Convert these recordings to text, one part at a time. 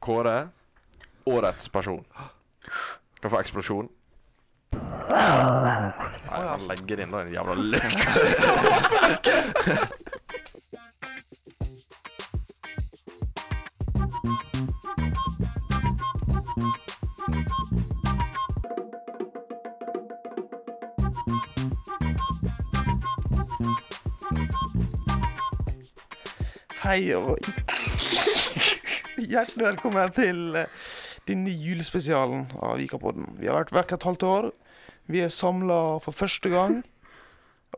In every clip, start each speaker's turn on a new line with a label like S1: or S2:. S1: Kåre årets person. Skal få eksplosjon. Nei, han legger inn da, den jævla løk.
S2: Hei og hjertelig velkommen til eh, denne julespesialen av Vikapodden. Vi har vært vekk et halvt år. Vi er samla for første gang.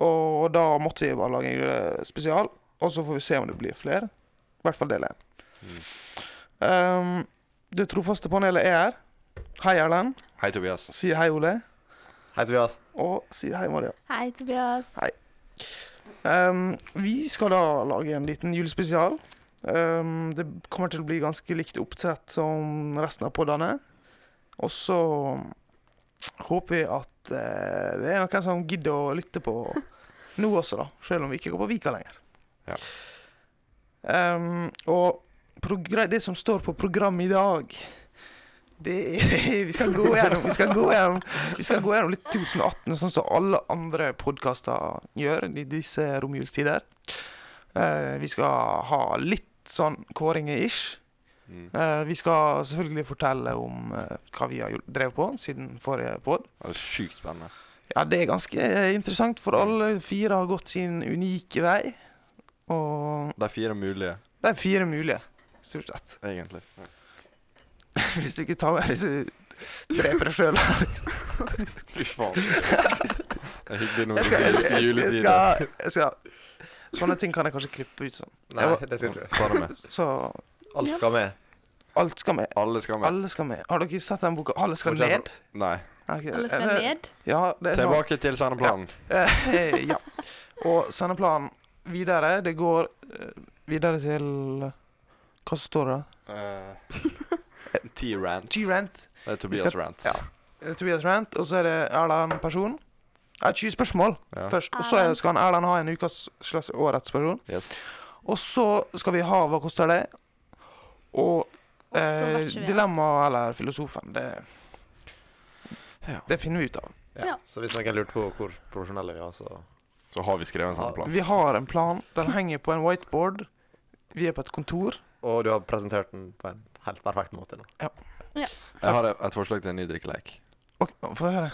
S2: Og da måtte vi bare lage en julespesial. Og så får vi se om det blir flere. I hvert fall del én.
S1: Mm.
S2: Um, det trofaste panelet er her. Hei, Erlend.
S1: Hei, Tobias.
S2: Sier hei, Ole.
S3: Hei, Tobias.
S2: Og sier hei, Maria.
S4: Hei, Tobias.
S2: Hei. Um, vi skal da lage en liten julespesial. Um, det kommer til å bli ganske likt oppsett som resten av poddene. Og så håper vi at eh, det er noen som gidder å lytte på nå også, da. Selv om vi ikke går på Vika lenger.
S1: Ja.
S2: Um, og progra- det som står på programmet i dag det er, vi, skal gå gjennom, vi, skal gå gjennom, vi skal gå gjennom litt 2018, sånn som alle andre podkaster gjør i disse romjulstider. Eh, vi skal ha litt sånn kåringer-ish. Eh, vi skal selvfølgelig fortelle om eh, hva vi har gjort- drevet på siden forrige pod.
S1: Det er sjukt spennende.
S2: Ja, det er ganske eh, interessant, for alle fire har gått sin unike vei. Og
S1: De fire mulige,
S2: det er fire mulige, stort sett.
S1: egentlig.
S2: Hvis du ikke tar med Hvis du dreper deg sjøl.
S1: Fy faen. Det er hyggelig når
S2: Jeg
S1: det
S2: skal, jeg,
S1: blir
S2: skal, jeg,
S1: juletider.
S2: skal, jeg skal Sånne ting kan jeg kanskje klippe ut sånn.
S3: Nei, det skal du ikke.
S1: Ta det med.
S2: Så
S3: Alt skal med.
S2: alt skal med.
S1: Alle skal med.
S2: Alle skal med. Har dere sett den boka? Alle skal
S3: Fortsett.
S2: ned?
S1: Nei.
S2: Ok,
S4: Alle skal
S2: er det-
S4: ned.
S2: Ja, det er sånn.
S1: Tilbake til sendeplanen.
S2: Eh, ja. Og sendeplanen videre, det går eh, videre til Hva står det?
S1: Eh, T-rant.
S2: T-rant.
S1: Det er Tobias rant.
S2: ja. Eh, Tobias Rant, og så er det Erlend person. Ja, 20 spørsmål
S1: Ja.
S2: først. Og så er-
S4: Erlend.
S2: skal han Erlend ha en ukas slags årets person.
S1: Yes.
S2: Og så skal vi ha Hva koster det? Og
S4: Og så
S2: Eh,
S4: matcher vi.
S2: dilemma eller filosofen, det,
S1: Ja.
S2: det finner vi ut av.
S4: Ja.
S3: Så hvis noen lurte på hvor profesjonelle vi er, så
S1: Så har vi skrevet en sendeplan.
S2: Vi har en plan. Den henger på en whiteboard. Vi er på et kontor.
S3: Og du har presentert den på en helt perfekt måte nå.
S1: Jeg har et forslag til en ny drikkelek.
S2: Og, få høre.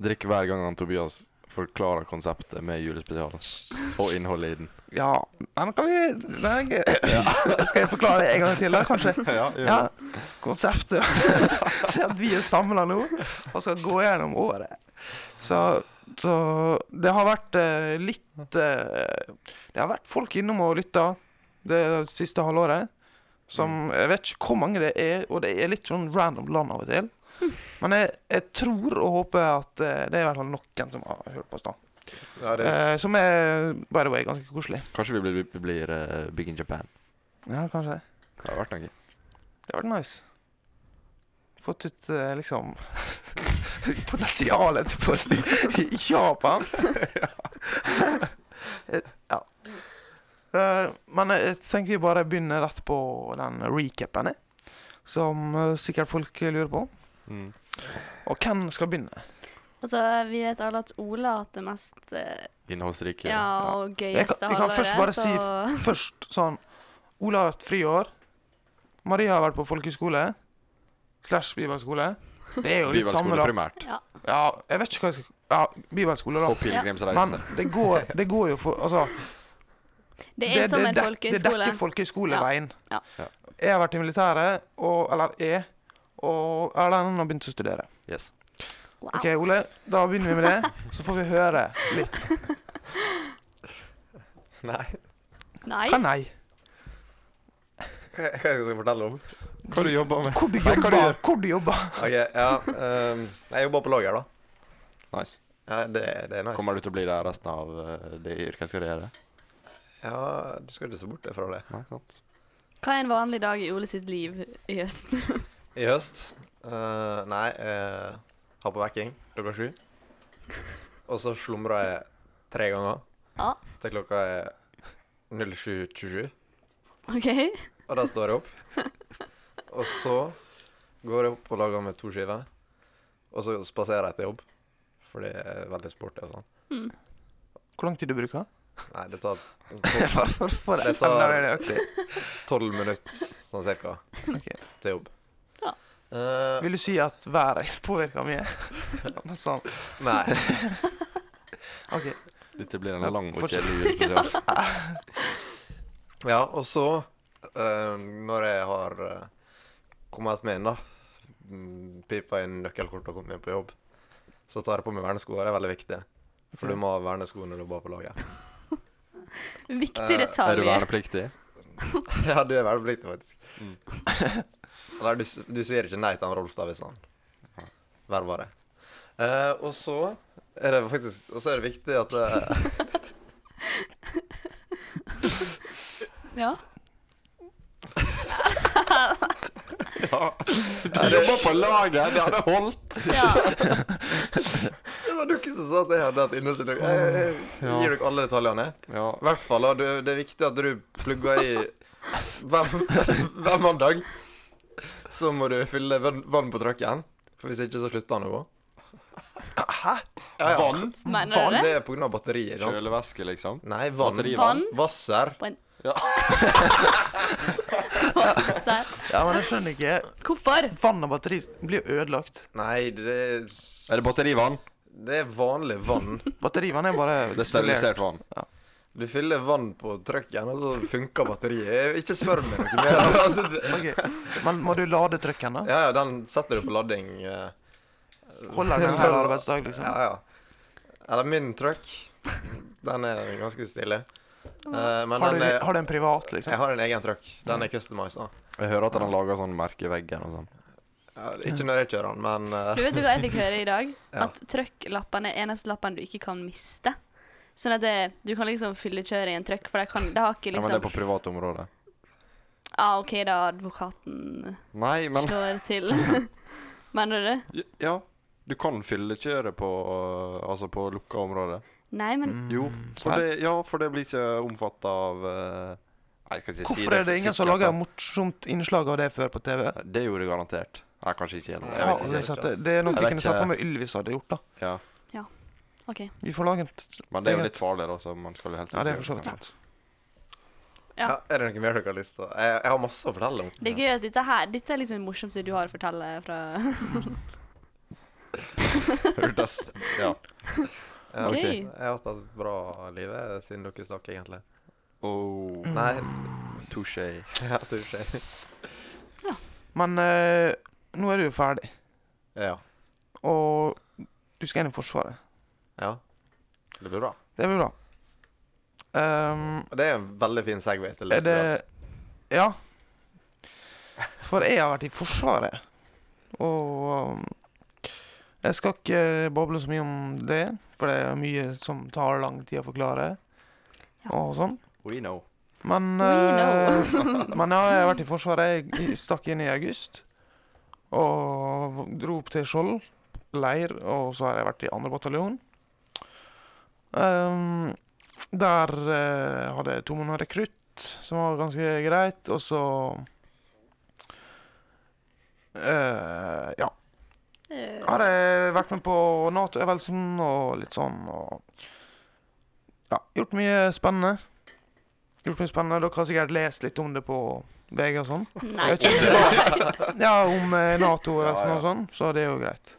S1: Drikk hver gang han Tobias forklarer konseptet med julespesialen. Og innholdet i den.
S2: Ja Nei, men kan vi nei, jeg- Skal jeg forklare det en gang til, da, kanskje?
S1: Ja,
S2: Ja, Konseptet det er at vi er samla nå og skal gå gjennom året. Så, så det har vært eh, litt eh, Det har vært folk innom og lytta det siste halvåret. Som Jeg vet ikke hvor mange det er, og det er litt sånn random land av og til. Men jeg, jeg tror og håper at eh, det er i hvert fall noen som har hørt på oss, da.
S3: Ja, det,
S2: Eh, som er, by the way, ganske koselig.
S1: Kanskje vi blir, vi blir eh, Big in Japan.
S2: Ja, kanskje.
S1: Det har vært noe.
S2: Det hadde vært nice. Fått ut eh, liksom potensialet på i Japan. Eh, ja. Eh, men eh, jeg tenker vi bare begynner rett på den recapen, jeg, som eh, sikkert folk lurer på.
S1: Mm.
S2: Og hvem skal begynne?
S4: Og så Altså, vi vet alle at Ola har hatt det mest eh,
S1: Innholdsrike.
S4: ja, og
S2: Jeg kan-
S4: gøyeste
S2: jeg kan
S4: halvåret.
S2: først bare
S4: så
S2: Først sånn Ola har hatt friår. Maria har vært på folkehøyskole. Slash bibelskole. Det er jo litt samme,
S1: Bibelskole
S2: da.
S1: primært.
S4: ja.
S2: Ja, jeg vet ikke hva jeg skal Ja, bibelskole, da.
S1: Og pilegrimsreise.
S2: Men det går, det går jo for Altså,
S4: Det er som
S2: dek-
S4: en
S2: Det
S4: folkehøyskole.
S2: dekker folkehøyskoleveien.
S4: Ja.
S1: Ja.
S2: Jeg har vært i militæret, og Eller er. Og Erlend har begynt å studere.
S1: Yes.
S4: Wow.
S2: OK, Ole, da begynner vi med det. Så får vi høre litt.
S3: nei.
S4: Nei.
S2: Hva nei?
S3: Hva hva skal jeg fortelle om?
S1: Hva du jobber med?
S2: Hvor du
S3: hva
S2: jobber?
S3: du gjør?
S2: Hvor du jobber?
S3: Ok, ja. ehm, jeg jobber på lager, da.
S1: Nice.
S3: Ja, det, det er nice.
S1: Kommer du til å bli der resten av eh, det yrket jeg skal gjøre?
S3: Ja, du skal ikke se bort fra det.
S1: Nei, sant?
S4: Hva er en vanlig dag i Ole sitt liv i høst?
S3: I høst eh, Nei, jeg har på vekking klokka sju. Og så slumra jeg tre ganger
S4: Ja.
S3: til klokka er 07.27.
S4: OK?
S3: Og da står jeg opp. Og så går jeg opp og lager meg to skiver. Og så spaserer jeg til jobb. For det er veldig sporty og sånn.
S2: Hvor lang tid du bruker?
S3: Nei, det tar
S2: For, for, for
S3: Det
S2: Ja,
S3: tar-
S2: nei, det er ok.
S3: tolv minutter sånn cirka
S2: Ok.
S3: til jobb.
S4: Ja.
S3: Eh,
S2: Vil du si at været påvirker mye? Noe sånt.
S3: nei.
S2: OK.
S1: Dette blir en lang og
S2: fortsett.
S1: kjedelig julespesial.
S3: Ja, og så, eh, når jeg har eh, kommet meg inn, da, mm, pipa inn nøkkelkortet og kommet meg på jobb, så tar jeg på meg vernesko. og Det er veldig viktig. For du må ha vernesko når du jobber på laget.
S4: Viktig
S3: Eh,
S1: Er du
S4: detalj.
S1: vernepliktig?
S3: ja, du er vernepliktig, faktisk.
S1: Mm.
S3: Nei, du, s- du sier ikke nei til han Rolstad hvis han verver deg. Eh, og så er det faktisk Og så er det viktig at eh,
S4: Ja.
S1: Ja. Du jobber på laget, det hadde holdt.
S4: ja.
S3: Det var dere som sa at jeg hadde hatt innhold. Jeg, jeg, jeg gir dere alle detaljene.
S1: Ja.
S3: I hvert fall, og det, det er viktig at du plugger i hver, hver mandag. Så må du fylle vann vann på trucken, for hvis ikke så slutter han å gå. Hæ? Ja, ja. Vann?
S4: Mener du det?
S3: Det er pga. batteriet. ikke sant?
S1: Kjølevæske, liksom.
S3: Nei, vann.
S1: Batteri-
S4: Vann?
S3: Vasser.
S4: Vasser.
S2: Ja, men jeg skjønner ikke.
S4: Hvorfor?
S2: Vann og batteri blir jo ødelagt.
S3: Nei, det er,
S1: Er det batterivann?
S3: det er vanlig vann.
S2: Batterivann er bare
S1: Det er sterilisert vann.
S3: Du fyller vann på trucken, og så funker batteriet. Jeg- Ikke spør meg noe mer. Altså, det-
S2: Ok, Men må du lade trucken, da?
S3: Ja, ja, den setter du på lading. eh,
S2: Holder den en hel arbeidsdag, liksom?
S3: Ja, ja. Eller min truck. Den er ganske stille. Eh, men
S2: Har du,
S3: den er,
S2: har du en privat, liksom?
S3: jeg har en egen truck. Den er customized.
S1: Jeg hører at han lager sånn merke i veggen og sånn.
S3: Ikke når jeg kjører den, men eh,
S4: Du vet jo hva jeg fikk høre i dag?
S3: Ja.
S4: At trøkklappene er eneste lappen du ikke kan miste. Sånn at det, du kan liksom fyllekjøre i en trøkk, for det, kan, det har ikke
S1: Ja, men det er
S4: liksom
S1: på privat område.
S4: ah, OK, da advokaten
S1: Nei, men
S4: slår til. Mener du det?
S1: Ja. Du kan fyllekjøre på øh, Altså på lukka område.
S4: Nei, men
S2: Mm.
S1: Jo, for
S2: Nei.
S1: det, ja, for det blir ikke omfatta av øh, Nei, jeg skal ikke si
S2: Hvorfor er det ingen som
S1: sikkert,
S2: lager
S1: men-
S2: morsomt innslag av det før på TV?
S1: Det gjorde det garantert. Nei, kanskje ikke gjennom
S2: Ja,
S1: Jeg vet
S2: det,
S1: ikke. altså.
S2: er sant, det- det er noe
S1: Jeg
S2: jeg
S1: vet
S2: kunne sett
S1: ikke.
S2: for meg Ylvis hadde gjort. da
S1: Ja.
S4: OK.
S2: Vi får lage en t-
S1: Men det er jo litt farligere, så man skal jo helst
S2: Ja, det er for
S1: ikke
S2: så
S1: gjøre
S2: vidt sant.
S4: Ja.
S3: ja, er det noe mer dere har lyst til å jeg, jeg har masse å fortelle om.
S4: Det er gøy at dette her Dette er liksom det morsomste du har å fortelle fra
S1: Hørtes Ja.
S3: Ja,
S4: Ok.
S3: Jeg har hatt et bra liv eh, siden dere stakk, egentlig.
S1: Oh,
S2: Mm.
S3: Nei,
S1: touché.
S3: jeg har hatt uskje.
S2: Men eh, nå er du jo ferdig,
S3: Ja.
S2: og du skal inn i Forsvaret.
S3: ja. Det blir bra.
S2: Det blir bra. Ehm,
S3: Og det er en veldig fin segway til
S2: er
S3: dere.
S2: det Ja. For jeg har vært i Forsvaret, og um, jeg skal ikke boble så mye om det, for det er mye som tar lang tid å forklare.
S4: Ja.
S2: Og sånn.
S1: We know.
S2: Men,
S4: We
S2: eh, men ja, jeg har vært i Forsvaret. Jeg stakk inn i august. Og dro opp til Skjold leir, og så har jeg vært i andre bataljon. Ehm, der eh, hadde jeg to måneder rekrutt, som var ganske greit, og så eh, Ja.
S4: Eh,
S2: Har jeg vært med på Nato-øvelsen og litt sånn og Ja, gjort mye spennende. Gjort mye spennende. Dere har sikkert lest litt om det på VG og sånn.
S4: Nei.
S2: Jeg vet Ja, om eh, Nato-øvelsen
S1: Ja, ja.
S2: og sånn, så det er jo greit.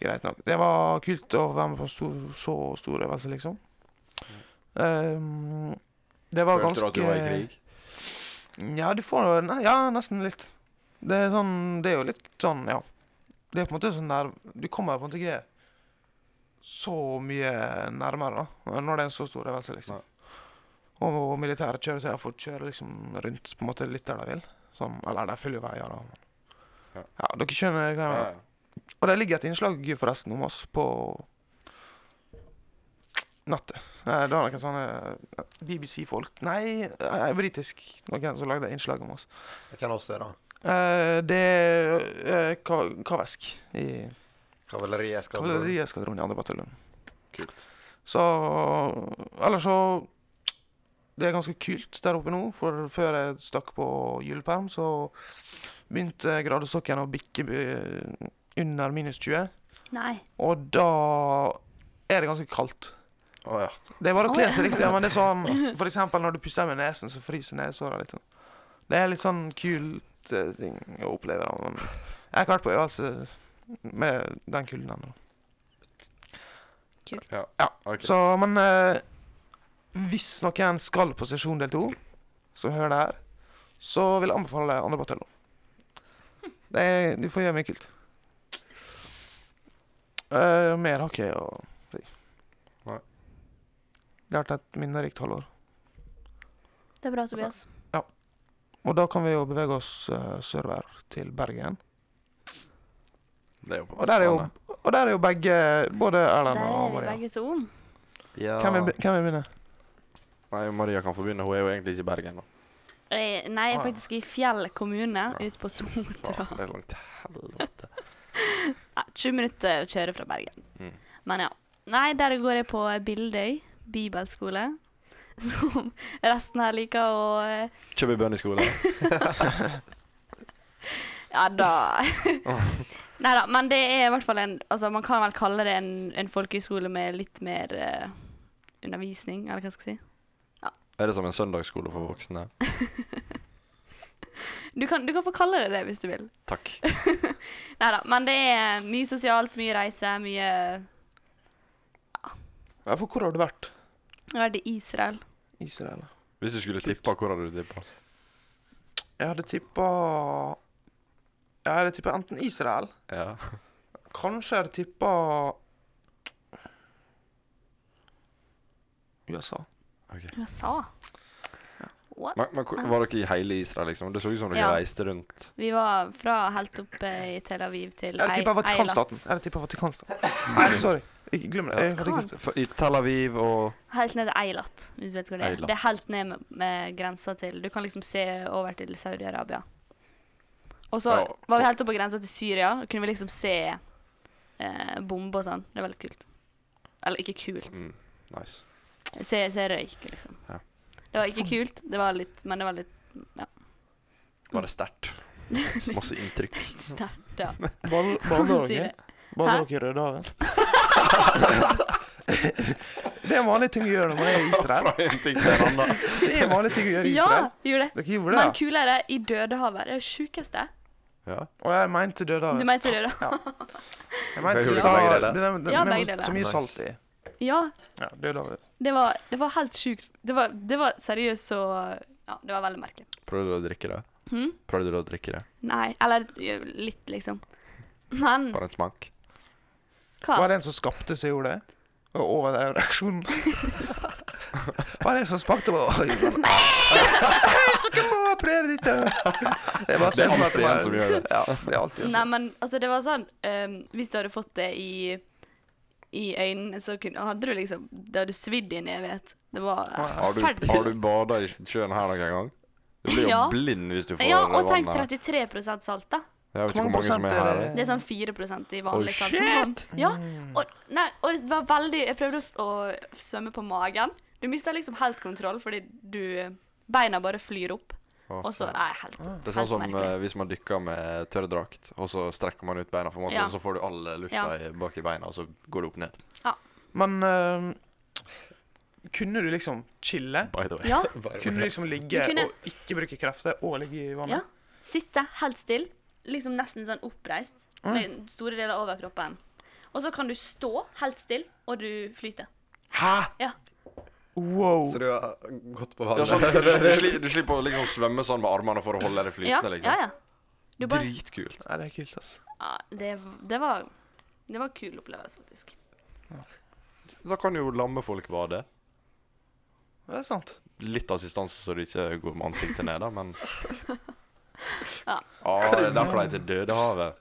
S2: Greit nok. Det var kult å være med på en stor, så stor øvelse, liksom. Ehm, det var
S1: Mm. Følte du
S2: ganske
S1: at du var i krig?
S2: ja, du får nei, Ja, nesten litt. Det er sånn Det er jo litt sånn, ja. Det er på en måte sånn der Du kommer på en måte ikke så mye nærmere, da. Når det er en så stor øvelse, liksom. Og, og militære kjøretøyer får kjøre liksom rundt på en måte litt der de vil. Sånn, eller de følger jo veier, da.
S1: Ja.
S2: Ja, dere skjønner hva jeg mener.
S1: Ja.
S2: Og det ligger et innslag forresten om oss på nettet. Eh, Det var noen sånne eh, BBC-folk Nei, eh, britisk. Noen som lagde innslag om oss.
S3: Jeg kan også gjøre det.
S2: Eh, Det er eh, Ka- Kavesk i
S3: Kavaleriet skal
S2: Kavalerieskvadronen i andre bataljon.
S1: Kult.
S2: Så Eller så det er ganske kult der oppe nå, for før jeg stakk på juleperm, så begynte gradestokken å bikke eh, under minus 20,
S4: Nei.
S2: og da er det ganske kaldt.
S3: Å ja.
S2: Det er bare å
S4: Å,
S2: kle
S4: ja.
S2: seg riktig, men det er sånn, for eksempel når du puster med nesen, så fryser nesåra litt. Sånn. Det er litt sånn kult eh, ting å oppleve, da, men jeg har ikke vært på øvelse med den kulden ennå.
S1: Ja.
S2: Ja,
S1: ok.
S2: Så, men eh, hvis noen skal på sesjon del to, som hører det her, så vil jeg anbefale andre bataljon. Det er- Du får gjøre mye kult. Eh, mer har ikke jeg å si.
S1: Nei.
S2: Det har vært et minnerikt halvår.
S4: Det er bra, Tobias.
S2: Og da kan vi jo bevege oss eh, sørover til Bergen.
S1: Det er jo på
S2: Og der er jo,
S1: Vestlandet.
S2: og der er jo begge Både
S4: Der
S2: Erlend
S4: er
S2: og
S4: vi
S2: Maria.
S4: begge to.
S2: Hvem vil be- hvem vil begynne?
S1: Nei, Maria kan få begynne. Hun er jo egentlig ikke i Bergen. da.
S4: Eh, Nei, jeg
S2: Ah.
S4: er faktisk i Fjell kommune, ute på Sotra.
S1: Faen, det er langt til helvete.
S4: Ja, 20 minutter å kjøre fra Bergen.
S1: Mm.
S4: Men ja. Nei, der går jeg på Bildøy bibelskole. Som resten her liker å eh,
S1: Kjøper bønneskole.
S4: Ja da. Nei da, men det er i hvert fall en Altså, man kan vel kalle det en, en folkehøyskole med litt mer eh, undervisning, eller hva skal jeg si.
S1: Er det som en søndagsskole for voksne?
S4: Du kan, du kan få kalle det det hvis du vil.
S1: Takk.
S4: Nei da, men det er mye sosialt, mye reise, mye
S2: Ja, for hvor har du vært?
S4: Hva er det, Israel?
S2: Israel?
S1: Hvis du skulle tippa, hvor hadde du tippa?
S2: Jeg hadde tippa Jeg hadde tippa enten Israel
S1: Ja.
S2: Kanskje jeg hadde tippa USA.
S4: USA? What?
S1: Men, men hvor- Var dere i hele Israel, liksom? Det så ut som dere
S4: Ja.
S1: reiste rundt.
S4: Vi var fra helt oppe i Tel Aviv
S2: Jeg
S4: til
S2: hadde
S4: Ei-
S2: tippa Vatikanstaten.
S4: Eilat.
S2: Jeg hadde tippa Vatikanstaten. Nei, sorry. Ikke glem det. Jeg hadde ikke...
S1: For, I Tel Aviv og
S4: Helt ned til Eilat, hvis du vet hvor det er.
S1: Eilat.
S4: Det er helt ned med, med grensa til Du kan liksom se over til Saudi-Arabia. Og så
S1: Ja,
S4: var vi
S1: og-
S4: helt oppe på grensa til Syria, og kunne vi liksom se eh, bomber og sånn. Det var veldig kult. Eller ikke kult.
S1: mm, Nice.
S4: Se, se røyk, liksom.
S1: Ja.
S4: Det var ikke kult, det var litt, men det var litt
S1: Var
S4: Mm.
S1: det sterkt? Masse inntrykk.
S4: sterkt, ja.
S2: Ball-
S4: Han
S2: Bader
S4: sier
S2: dere?
S4: det.
S2: Bader
S4: Hæ?
S2: dere i Rødehavet? Det er en vanlig ting å gjøre når man er i Israel.
S1: Fra en ting til en annen.
S2: Det er en vanlig ting å gjøre i
S4: Ja,
S2: Israel.
S4: gjorde det.
S2: Dere gjorde
S4: Men
S2: det?
S4: kulere i Dødehavet. Det er det sjukeste.
S1: Ja.
S2: Og jeg mente
S4: Du
S2: Dødehavet.
S4: mente Dødehavet?
S2: Jeg mente
S3: Jeg gjorde
S2: ta
S3: begge
S2: det
S3: deler.
S2: der- det
S4: Ja,
S2: der med
S4: begge deler.
S2: så mye
S3: Nice.
S2: salt i.
S4: Ja.
S2: Ja, Dødehavet.
S4: Det var, det var helt sjukt. Det var, det var seriøst så Ja, det var veldig merkelig.
S1: Prøvde du å drikke det?
S4: Hm?
S1: Prøvde du å drikke det?
S4: Nei, eller jo, litt, liksom. Men
S1: Bare en smak?
S2: Var
S4: hva?
S2: det en som skapte som gjorde det? Og overdrev reaksjonen? Var det en som spakte på Oi, men- Så ikke må prøve dette! Det, er bare
S1: Det er
S2: sånn at
S1: alltid
S2: bare-
S1: en som gjør det.
S2: Ja, det er alltid en
S4: Nei,
S2: som-
S4: men altså, det var sånn ehm, Hvis du hadde fått det i, i øynene, så kunne, hadde du liksom Det hadde svidd i en evighet. Det var
S1: Har du,
S4: forferdelig.
S1: har du bada i sjøen her noen gang? Du blir jo
S4: Ja.
S1: blind hvis du får
S4: ja, og
S1: vann
S4: tenk
S1: her.
S4: 33 salt, da.
S1: Jeg vet ikke hvor
S2: Hvor mange
S1: mange som er
S2: prosent er
S1: her.
S2: det?
S4: Det er sånn 4 i vanlig
S1: Oh,
S4: salt. Sånn. Ja,
S1: Mm.
S4: og, nei, og det var veldig Jeg prøvde å, f- å svømme på magen. Du mister liksom helt kontroll fordi du Beina bare flyr opp,
S1: Å,
S4: eh, og så
S1: faen.
S4: Nei, helt
S1: Det er sånn
S4: helt
S1: som
S4: merkelig.
S1: eh, hvis man dykker med tørrdrakt, og så strekker man ut beina for masse,
S4: Ja.
S1: og så får du all eh, lufta
S4: Ja.
S1: i- bak i beina, og så går det opp ned.
S2: Men øhm, kunne du liksom chille?
S1: By the way.
S4: Ja.
S2: Kunne du liksom ligge
S4: Du kunne-
S2: og ikke bruke krefter og ligge i vannet?
S4: ja. Sitte helt stille, liksom nesten sånn oppreist, med store deler over kroppen. Og så kan du stå helt stille, og du flyter.
S2: Hæ?
S4: Ja.
S2: Wow.
S3: Så du har gått på
S1: Ja,
S3: vannet?
S1: sånn, du, du, sli- du slipper å liksom svømme sånn med armene for å holde deg
S4: Ja,
S1: flytende, liksom.
S4: ja, ja. Du bare
S1: Dritkult.
S2: Nei, det er kult, ass.
S4: ja, det, det var Det var en kul opplevelse, faktisk.
S1: Da kan jo lamme folk bade.
S2: Det er sant.
S1: Litt assistanse så du ikke går med ansiktet ned, da, men
S4: Ja.
S1: Ah, det er derfor de heter Dødehavet.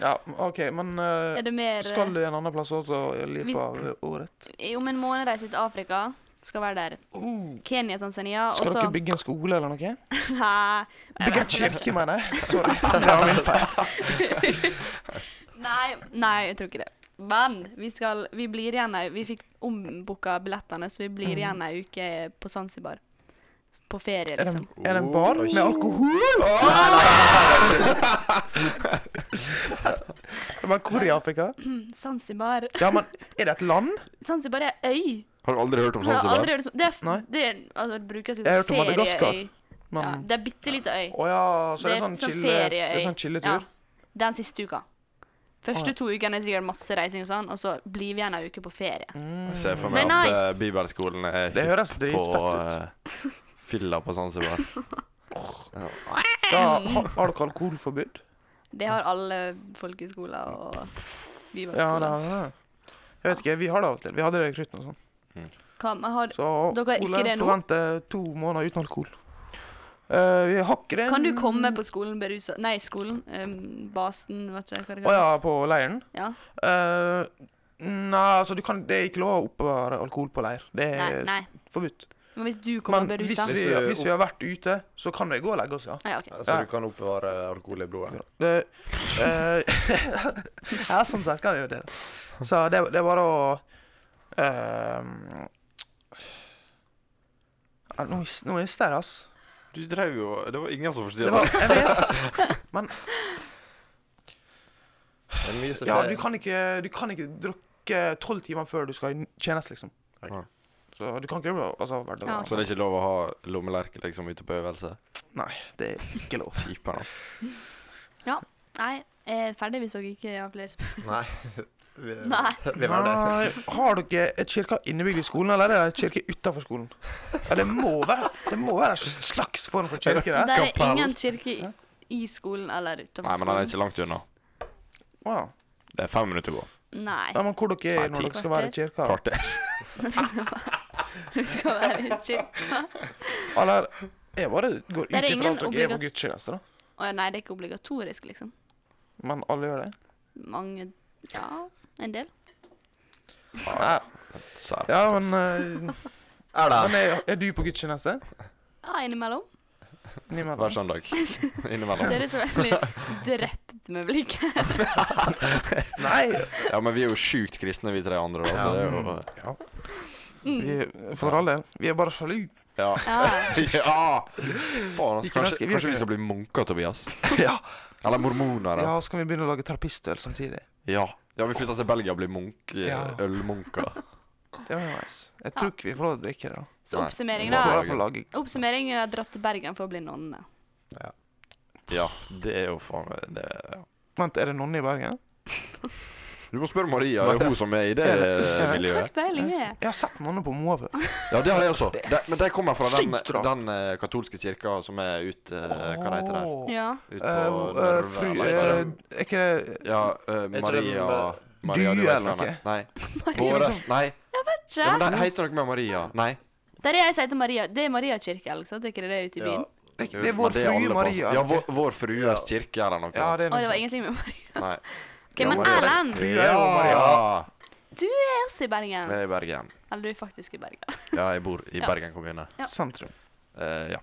S2: Ja, OK, men øh,
S4: Er det mer eh,
S2: skal du en annen plass også i løpet
S4: Hvis-
S2: av året?
S4: Om en måned reiser vi til Afrika. Skal være der. Kenya, Tanzania, og
S2: Skal
S4: så
S2: dere bygge en skole eller noe?
S4: Nei,
S2: Bygge
S4: jeg
S2: en
S4: vet ikke.
S2: kirke, mener jeg. Sorry. Det var min feil.
S4: Nei, nei, jeg tror ikke det. Men vi, skal, vi blir igjen ei Vi fikk ombooka billettene, så vi blir igjen ei uke på Zanzibar. På ferie,
S2: Mm. Er det,
S4: liksom.
S2: er det en bar
S3: Oi.
S2: med alkohol? Men hvor i Afrika?
S4: Zanzibar
S2: Ja, men er det et land?
S4: Zanzibar er øy.
S1: Har du aldri hørt om sånn
S4: Jeg har
S1: Zanzibar?
S4: aldri hørt om Det, er,
S2: Nei.
S4: det er, altså, det brukes jo
S2: Jeg har
S4: som
S2: hørt om Madagaskar,
S4: ferieøy. Ja,
S2: Men
S4: det er bitte lite øy.
S2: Å ja, så det er sånn
S4: sånn
S2: chille, det er sånn chilletur?
S4: Ja, den siste uka.
S2: Å,
S4: Første
S2: ja.
S4: to ukene er det sikkert masse reising og sånn, og så blir vi igjen ei uke på
S2: Mm.
S4: ferie.
S1: Jeg ser for
S4: Det
S1: meg at
S4: er nice.
S1: eh, bibelskolen er
S2: Det høres
S1: hypp på
S2: dritfett ut.
S1: eh, fylla på Zanzibar.
S2: Da, har, har dere alkoholforbud?
S4: Det har alle folkehøyskoler og
S2: Ja, det
S4: bibelskoler.
S2: har det. Jeg vet ikke, vi har det av og til. Vi hadde det i Krytten og sånn.
S4: Hva- men har-
S2: Så
S4: Dere har ikke
S2: Ole
S4: det nå?
S2: forventer to måneder uten alkohol. Eh, vi har ikke det
S4: Kan du komme på skolen berusa Nei, skolen. em, basen, vet ikke hva det
S2: Å ja,
S4: kalles.
S2: på leiren?
S4: Ja.
S2: Eh, nei, altså du kan, det er ikke lov å oppbevare alkohol på leir. Det
S4: Nei,
S2: er
S4: nei.
S2: forbudt.
S4: Men hvis du kommer
S2: Eh, Men hvis
S4: berusa
S2: vi,
S3: Hvis du-
S2: hvis vi har vært ute, så kan vi gå og legge oss, ja.
S4: ah, ja, ok.
S3: Så du kan oppbevare alkohol i blodet?
S2: Det, eh, ja, sånn sett kan jeg gjøre det. Så det, det er bare å eh, ja, Nå mis- nå mister jeg det, ass.
S1: Du drev jo Det var ingen som forstod
S2: Det var, jeg vet.
S3: Det er mye som
S2: Ja,
S3: skjer.
S2: du kan ikke, du kan ikke drukke tolv timer før du skal i tjeneste, liksom.
S3: Ok.
S2: Så du kan ikke gjøre det altså, hver dag.
S4: Ja.
S1: Så det er ikke lov å ha lommelerke liksom ute på øvelse?
S2: Nei, det er ikke lov.
S1: Kjipere.
S4: Nei, jeg er ferdig hvis dere ikke har flere spørsmål.
S3: Nei. Vi,
S4: Nei.
S3: vi har det.
S2: Nei, har dere et kirke innebygd i skolen, eller er det et kirke utenfor skolen? Ja, det må være, det må være en slags form for kirke der.
S4: Det er
S1: kapell.
S4: ingen kirke i, i skolen eller
S1: Nei,
S4: utenfor
S1: men den er
S4: skolen.
S1: ikke langt unna.
S2: Wow.
S1: Det er fem minutter å gå.
S4: Nei.
S2: Ja, men hvor dere
S1: Nei,
S2: er når
S1: ti.
S2: dere skal være i kirka?
S1: Kvarter.
S4: Du skal være i kirka.
S2: Eller jeg bare går ut
S4: Det er
S2: ifra
S4: ingen
S2: at dere er på
S4: obligat-
S2: gudstjeneste, da.
S4: Å, nei, det er ikke obligatorisk, liksom.
S2: Men alle gjør det.
S4: Mange Ja, en del.
S2: Nei.
S1: Sær.
S2: Ja, men, eh,
S3: Er det?
S2: men er, er du på gudstjeneste?
S4: Ja, innimellom.
S2: Innimellom.
S1: Hver søndag.
S4: Ser
S1: Innimellom.
S4: ut som jeg blir drept med blikket.
S2: Nei!
S1: Ja, men vi er jo sjukt kristne, vi tre andre, da, så det er jo
S2: Ja. Vi, for all del. Vi er bare sjalu.
S1: Ja.
S4: Ja.
S1: Ja! Faen, altså, kanskje,
S2: Ikke mennesker, vi er
S1: kanskje vi
S2: ikke
S1: skal bli munker, Tobias?
S2: Ja.
S1: Eller mormoner? Ja.
S2: ja, så kan vi begynne å lage terapistøl samtidig.
S1: ja. Ja, vi flytter til Belgia og blir munk, eh,
S2: Ja.
S1: ølmunker.
S2: Det var nice. Jeg tror ikke vi får lov til å drikke det, da.
S4: Så oppsummering,
S2: Vi får i
S4: da.
S2: hvert fall lage
S4: Oppsummering jeg har dratt til Bergen for å bli nonne.
S1: Ja, det er jo faen meg det ja.
S2: Vent, er det nonne i Bergen?
S1: Du må spørre Maria, det er hun som er i det eh,
S4: Hva
S1: miljøet.
S4: peiling er
S2: Jeg har sett nonner på Moa før.
S1: Ja, det har jeg også. De, men de kommer fra den,
S2: Sykt bra.
S1: den eh, katolske kirka som er ute eh, Hva heter det?
S2: Åh.
S4: Ja.
S1: Ut
S2: Eh,
S1: på
S2: hvor- eh,
S1: Nørve,
S2: fru,
S1: eller hva
S2: eh,
S1: heter det?
S2: er ikke det
S1: Ja, eh,
S3: det
S1: Maria
S3: den, eh,
S1: Maria, du
S2: Dy
S1: vet
S2: eller
S1: hva hun
S2: noe?
S1: er. Nei. Våres Nei. Ja, men
S4: Tja.
S1: de heter noe med Maria. Nei.
S4: Der er jeg sier til Maria. Det er Mariakirke, altså. Det er ikke det det er ute i byen?
S2: Det, er ikke-
S1: Jo,
S2: det er
S1: men
S2: Vår
S1: alle
S2: Frue
S1: på-
S2: Maria.
S1: Ja,
S2: eller
S1: vår,
S2: ikke?
S1: vår frues kirke eller noe.
S2: ja, det er
S4: Å, det var
S2: noe sånt.
S4: ingenting med Maria.
S1: Nei.
S4: Ok, Men
S1: Maria.
S4: Erlend,
S2: Frue
S1: Ja!
S2: og Maria.
S4: du er også i Bergen.
S1: Jeg er i Bergen.
S4: Eller du er faktisk i Bergen.
S1: Ja, jeg bor i
S4: Ja.
S1: Bergen kommune.
S4: Ja.
S2: Sentrum.
S1: Eh, ja.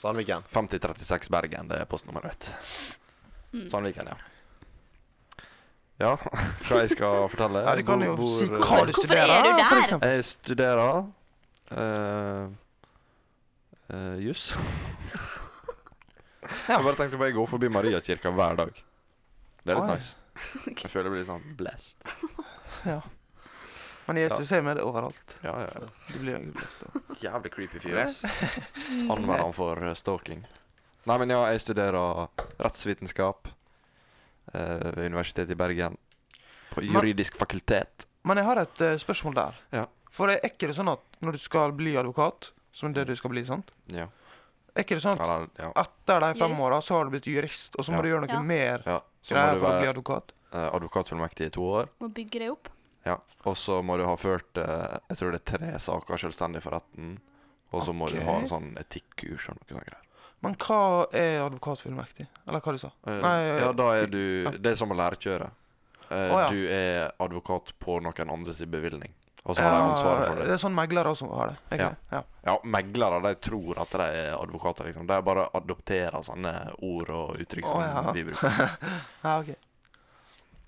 S3: Sandviken.
S1: 5036 Bergen, det er postnummeret mitt. Sandviken, ja. Ja, hva jeg skal fortelle?
S2: Ja, du kan
S1: Bor-
S2: jo
S1: bor-
S2: si hva
S4: Hvor-
S2: du
S4: hvorfor er
S2: studerer,
S4: du
S2: for
S4: der?
S2: eksempel.
S1: Jeg studerer eh, eh, juss. jeg bare tenkte på jeg går forbi Mariakirka hver dag. Det er litt
S2: Oi.
S1: nice. Jeg føler jeg blir litt sånn blessed.
S2: Men Jesus er med det overalt.
S1: Ja, ja.
S2: Du blir jo blest av.
S1: Jævlig creepy fyr. ass. Anmelder han for eh, stalking. Nei, men ja, jeg studerer rettsvitenskap eh, ved Universitetet i Bergen. På juridisk fakultet.
S2: Men jeg har et eh, spørsmål der.
S1: Ja.
S2: For er ikke det sånn at når du skal bli advokat, som er det du skal bli, sant?
S1: Ja.
S2: Er ikke det sånn at
S1: Eller, ja.
S2: etter de fem
S4: Jurist.
S2: åra så har du blitt jurist, og så
S1: Ja.
S2: må du gjøre noe
S4: Ja.
S2: mer
S1: ja. Så må
S2: greier
S1: du
S2: for å bli
S1: være
S2: advokat?
S1: eh, advokatfullmektig i to år.
S4: Mm. Må bygge det opp.
S1: Ja. Og så må du ha ført eh, jeg tror det er tre saker selvstendig for retten. Og så må du
S2: Ok.
S1: ha en sånn etikkurs og noe sånt. greier.
S2: Men hva er advokatfullmektig? Eller hva du sa?
S1: Eh,
S2: Nei, eh,
S1: ja, da er du Det er som å lærekjøre. Eh,
S2: Å, ja.
S1: Du er advokat på noen andres bevilgning. Og så har de ansvaret
S2: Ja,
S1: for det.
S2: det er sånn meglere også har det. Ikke?
S1: Ja.
S2: det? Ja.
S1: Ja, meglere de tror at de er advokater, liksom. De bare adopterer sånne ord og uttrykk som
S2: Å, ja.
S1: vi bruker.
S2: Ja, ok.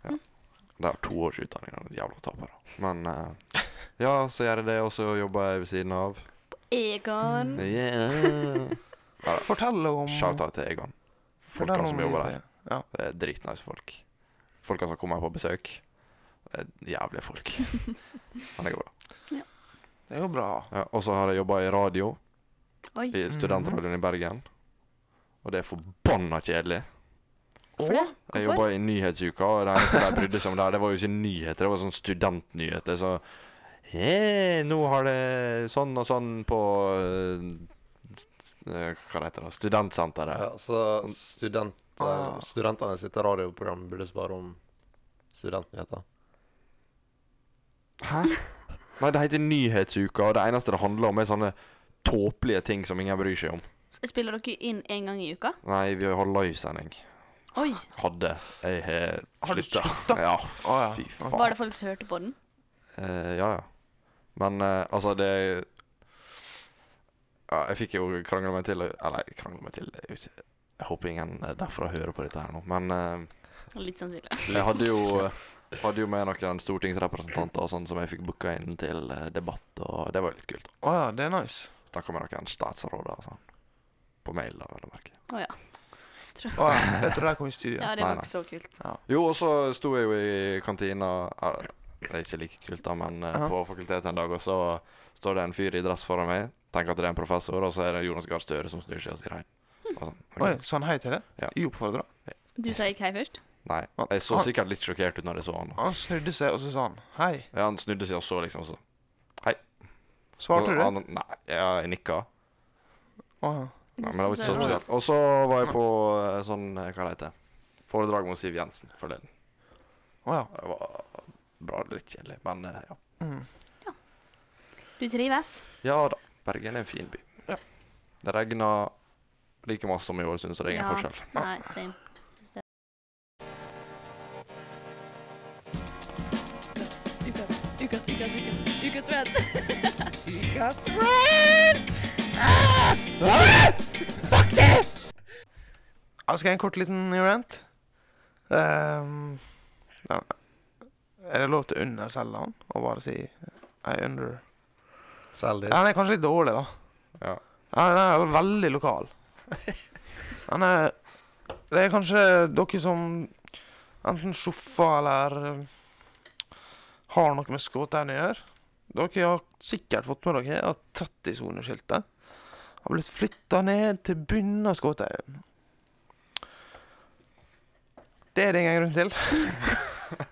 S1: Ja. De har to års utdanning, de er jævla tapere. Men eh, ja, så gjør jeg det, og så jobber jeg ved siden av.
S4: Egon.
S1: Yeah.
S2: Fortell om
S1: Shout-out til Egon.
S2: fortell
S1: Folka som
S2: om
S1: jobber
S2: livet.
S1: der. Det er dritnice folk. Folka som kommer på besøk. Det er jævlige folk. Men det går bra.
S2: Det er jo bra.
S1: Ja, og så har jeg jobba i radio,
S4: Oi.
S1: i studentradioen i Bergen. Og det er forbanna kjedelig.
S4: Hvorfor det?
S1: Jeg
S4: Hvorfor?
S1: jobba i Nyhetsuka, og det eneste de brydde seg om der, det var jo ikke nyheter, det var sånn studentnyheter. Så «Hei, nå har det sånn og sånn på eh, eh, Hva heter det? Studentsenteret.
S3: Ja, så studenter,
S2: Ah.
S3: studentene sitt radioprogram burde spare om studentnyheter.
S1: Hæ? Nei, det heter Nyhetsuka, og det eneste det handler om, er sånne tåpelige ting som ingen bryr seg om.
S4: S- Spiller dere inn én gang i uka?
S1: Nei, vi har livesending.
S4: Oi.
S1: Hadde. Jeg har
S2: Har du
S1: slutta.
S2: sluttet?
S1: Ja,
S2: Å ja.
S1: fy faen.
S4: Var det folk som hørte på den?
S1: Eh, ja, ja. Men eh, altså, det ja, Jeg fikk jo krangla meg til Eller jeg krangla meg til Jeg, vet ikke. jeg håper ingen eh, derfra hører på dette her nå. Men eh,
S4: Litt sånn sannsynlig.
S1: jeg hadde jo, hadde jo med noen stortingsrepresentanter og sånn som jeg fikk booka inn til eh, debatt, og det var jo litt kult.
S2: Å ja, det er nice.
S1: Snakka med noen statsråder og sånn. På mail, da, vel å merke.
S4: Å ja. Tror
S2: Å ja, jeg tror de kom i studio.
S4: Ja, det
S1: Nei,
S4: var
S1: nei.
S4: ikke så kult.
S1: Jo, og så sto jeg jo i kantina ja, Det er ikke like kult, da, men eh,
S2: Ja.
S1: på fakultetet en dag, og så står det en fyr i dress foran meg. Tenker at det er en professor, og så er det Jonas Gahr Støre som snur seg og sier hei. Og sånn, ok.
S2: Oi, sa han hei til det?
S1: Ja.
S2: Uoppfordra?
S4: Du sa ikke hei først?
S1: Nei, jeg så sikkert litt sjokkert ut når jeg så han. da.
S2: Han snudde seg, og så sa han hei.
S1: Ja, han snudde seg og så liksom så.
S2: Svarte du? Å
S1: Han, nei, ja, jeg nikka.
S2: ja.
S1: Nei, men det var ikke så
S4: Søren.
S1: spesielt. Og så var jeg på eh, sånn, eh, hva det heter Foredrag med Siv Jensen forleden.
S2: Å ja.
S1: Det var bra, litt kjedelig, men eh, ja.
S2: Mm.
S4: Du trives?
S1: Ja da, Bergen er en fin by.
S2: Ja.
S1: Det regner like masse som i Ålesund, så det er ingen
S4: Ja.
S1: forskjell.
S4: Nei, same. Syns det. Ukas, ukas, ukas, ukas, ukas rant.
S2: Ukas
S4: rant!
S2: Ja, Ah, Skal jeg en kort liten rant? Ehm, ja. Er det lov til å underselge han? Og bare si I under
S3: Selg
S2: Ja,
S3: det.
S2: Han er kanskje litt dårlig, da.
S1: Ja.
S2: Ja, Han er veldig lokal. Han er Det er kanskje dere som enten sjoffer eller eh, har noe med skåtene å gjøre. Dere har sikkert fått med dere at 30-soneskiltet har blitt flytta ned til bunnen av Skåtøyen. Det er det ingen grunn til.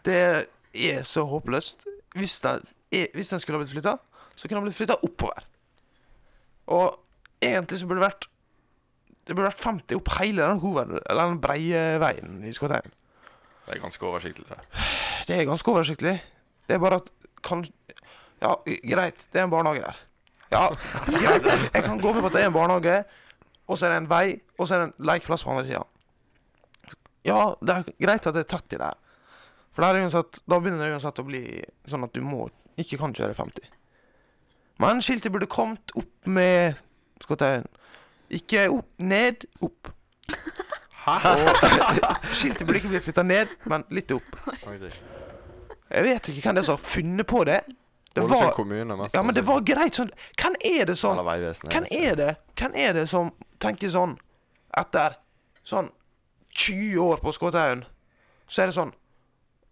S2: Det er så håpløst. Hvis den, er- hvis den skulle ha blitt flytta, så kunne den blitt flytta oppover. Og egentlig så burde det vært Det burde vært 50 opp hele den hoved... Eller den breie veien i Skotøyen.
S1: Det er ganske oversiktlig. det.
S2: Det er ganske oversiktlig. Det er bare at kan, Ja, greit, det er en barnehage der. Ja, greit. Jeg kan gå med på at det er en barnehage, og så er det en vei, og så er det en lekeplass på andre sida. Ja, det er greit at det er 30 der. For der er uansett, da begynner det uansett å bli sånn at du må ikke kan kjøre 50. Men skiltet burde kommet opp med Skotøyen. Ikke opp, ned, opp. Hæ? skiltet burde ikke bli flytta ned, men litt opp. Jeg vet ikke hvem det er som har funnet på det. Det
S1: Ålesund
S2: var,
S1: kommune mest.
S2: ja, men det var greit sånn Hvem er det
S1: Eller
S2: som
S1: Vegvesenet.
S2: Hvem er det Hvem er det som tenker sånn etter sånn 20 år på Skåtøyen, så er det sånn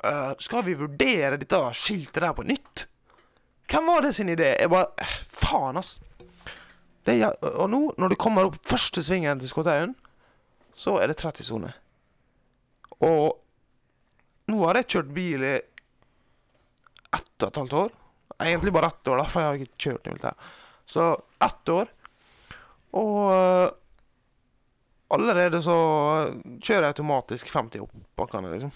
S2: «Øh, Skal vi vurdere dette skiltet der på nytt? Hvem var det sin idé? Jeg bare eh, Faen, ass. Det er, jæv- og nå, når du kommer opp første svingen til Skåtøyen, så er det 30-sone. Og nå har jeg kjørt bil i ett og et halvt år. Egentlig bare ett år, da, for jeg har ikke kjørt i militæret. Så ett år. Og øh, allerede så kjører jeg automatisk 50 opp bakkene, liksom.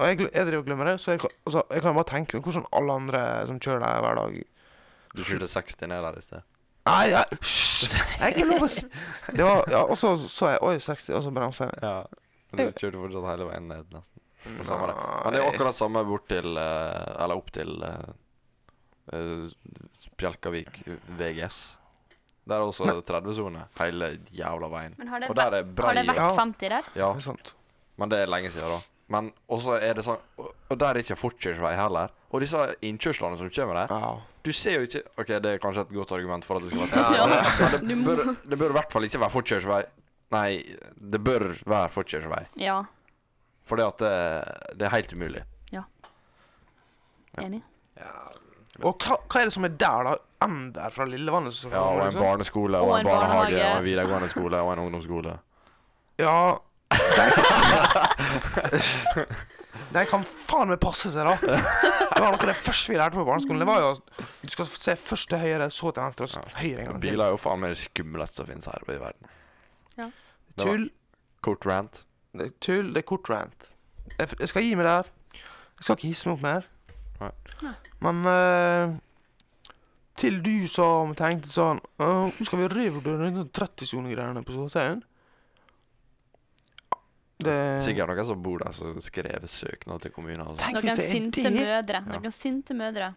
S2: Og jeg, gl- jeg driver og glemmer det, så jeg, kan- altså, jeg kan bare tenke meg hvordan alle andre som kjører der hver dag
S1: Du skyldte 60 ned der i sted.
S2: Nei, jeg, hysj! jeg er ikke lov å s... Det var, ja, og så så jeg Oi, 60, og så bremsa jeg.
S1: Ja. Men du kjørte fortsatt hele veien ned, nesten. Og Mm, samme det. Men det er
S2: Nei.
S1: jo akkurat samme bort til eh, Eller opp til eh, eh, Spjelkavik VGS. Der er også 30-sone hele jævla veien.
S4: Men har det,
S1: Og der er
S4: vært- har det
S1: brei
S4: vært
S2: Ja.
S4: 50 der?
S1: Ja,
S2: Det er sant.
S1: men det er lenge siden, da. Men også er det sånn og der er ikke fortkjørsvei heller. Og disse innkjørslene som kommer der,
S2: Ja.
S1: du ser jo ikke OK, det er kanskje et godt argument for at det skal være
S3: Ja,
S1: fortkjørsvei. Men
S4: Du
S1: det
S4: må-
S1: bør, det bør i hvert fall ikke være fortkjørsvei. Nei, det bør være fortkjørsvei.
S4: Ja.
S1: For det, det er helt umulig.
S4: Enig.
S3: Ja,
S2: Og hva, hva er det som er der, da? M der fra Lillevannet? som- liksom?
S1: Ja, og en barneskole, og,
S4: Og
S1: en
S4: en
S1: barnehage,
S4: barnehage.
S1: og en videregående skole, og en ungdomsskole.
S2: Ja De kan faen meg passe seg, da. Det var noe av det første vi lærte på barneskolen. Det var jo Du skal se først til høyre, så til venstre, og så til høyre en gang til.
S1: Biler er jo faen meg det skumleste som finnes her i verden. det var-
S2: Tull.
S1: Kort rant.
S2: Det er tull. Det er kort rant. Jeg, f- jeg skal gi meg der. Jeg skal ikke hisse meg opp mer.
S1: Nei.
S4: Nei.
S2: Men eh, til du som tenkte sånn «Åh, nå Skal vi revurdere den 30-sonegreiene på Sotheim?
S1: Det er sikkert noen som bor der som skrev søknad til kommunen. altså. og sånt.
S2: Tenk
S4: Noen
S2: hvis det
S4: sinte
S2: er det.
S4: mødre.
S1: Ja.
S4: Noen sinte mødre.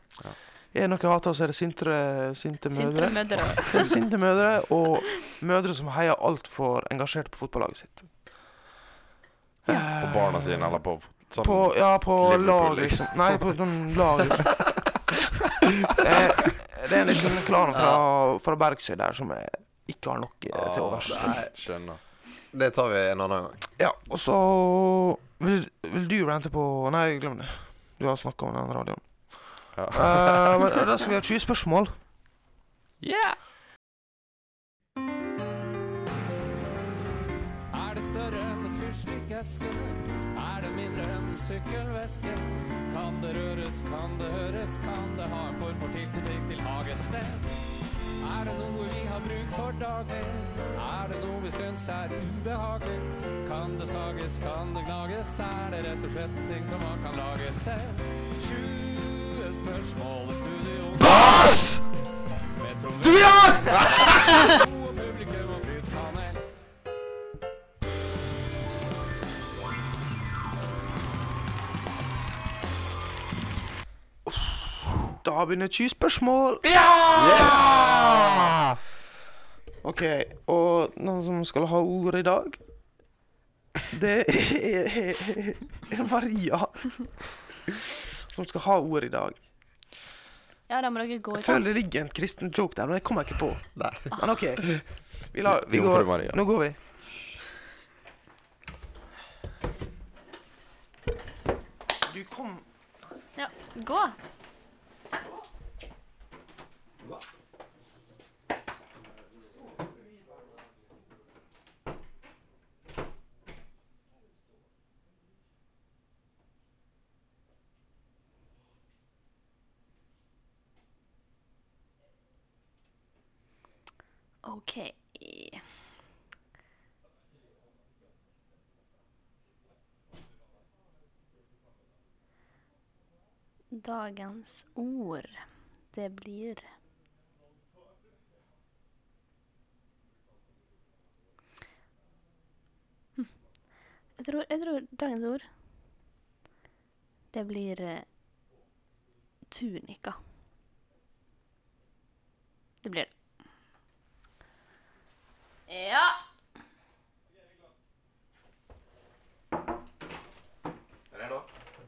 S2: Er det noe jeg hater, så er det sintre, sinte
S4: Sinte
S2: mødre.
S4: mødre.
S2: Sinte mødre og mødre som heier altfor engasjert på fotballaget sitt. Eh,
S1: På barna sine eller på fot- sånn.
S2: På, ja, på
S1: Liverpool,
S2: lag,
S1: liksom.
S2: liksom. Nei, på sånn lag, liksom. eh, det er liksom en klan fra, fra Bergsøy der som jeg ikke har nok eh, til overs.
S3: nei.
S1: Ah, Skjønner.
S3: det tar vi en annen gang.
S2: Ja, og så vil, vil du rente på Nei, glem det. Du har snakka om den radioen.
S1: Ja.
S2: Eh, men da skal vi ha 20 spørsmål.
S5: Er det større enn en fyrstikkeske? Er det mindre enn en sykkelveske? Kan det røres, kan det høres, kan det ha en form for tilknytning til hagested? Er det noe vi har bruk for daglig? Er det noe vi syns er ubehagelig? Kan det sages, kan det gnages? Er det rett og slett en ting som man kan lage selv? 20 spørsmål i studio. Med Trond Viggo og publikum og flytpanel.
S2: Da begynner 20 spørsmål. OK, og den som skal ha ordet i dag, det er Maria. Som skal ha ordet i dag.
S4: Ja, da må dere gå
S2: Jeg
S4: ut. da.
S2: føler det ligger en kristen joke der, men det kommer jeg ikke på.
S3: Nei.
S2: Men OK. Vi lar, vi
S1: Jomfru
S2: går.
S1: Maria.
S2: Nå går vi. Du kom
S4: Ja, gå. Okay. Dagens ord, det blir Hm. jeg tror, jeg tror dagens ord Det blir eh, tunika. Det blir det. Ja.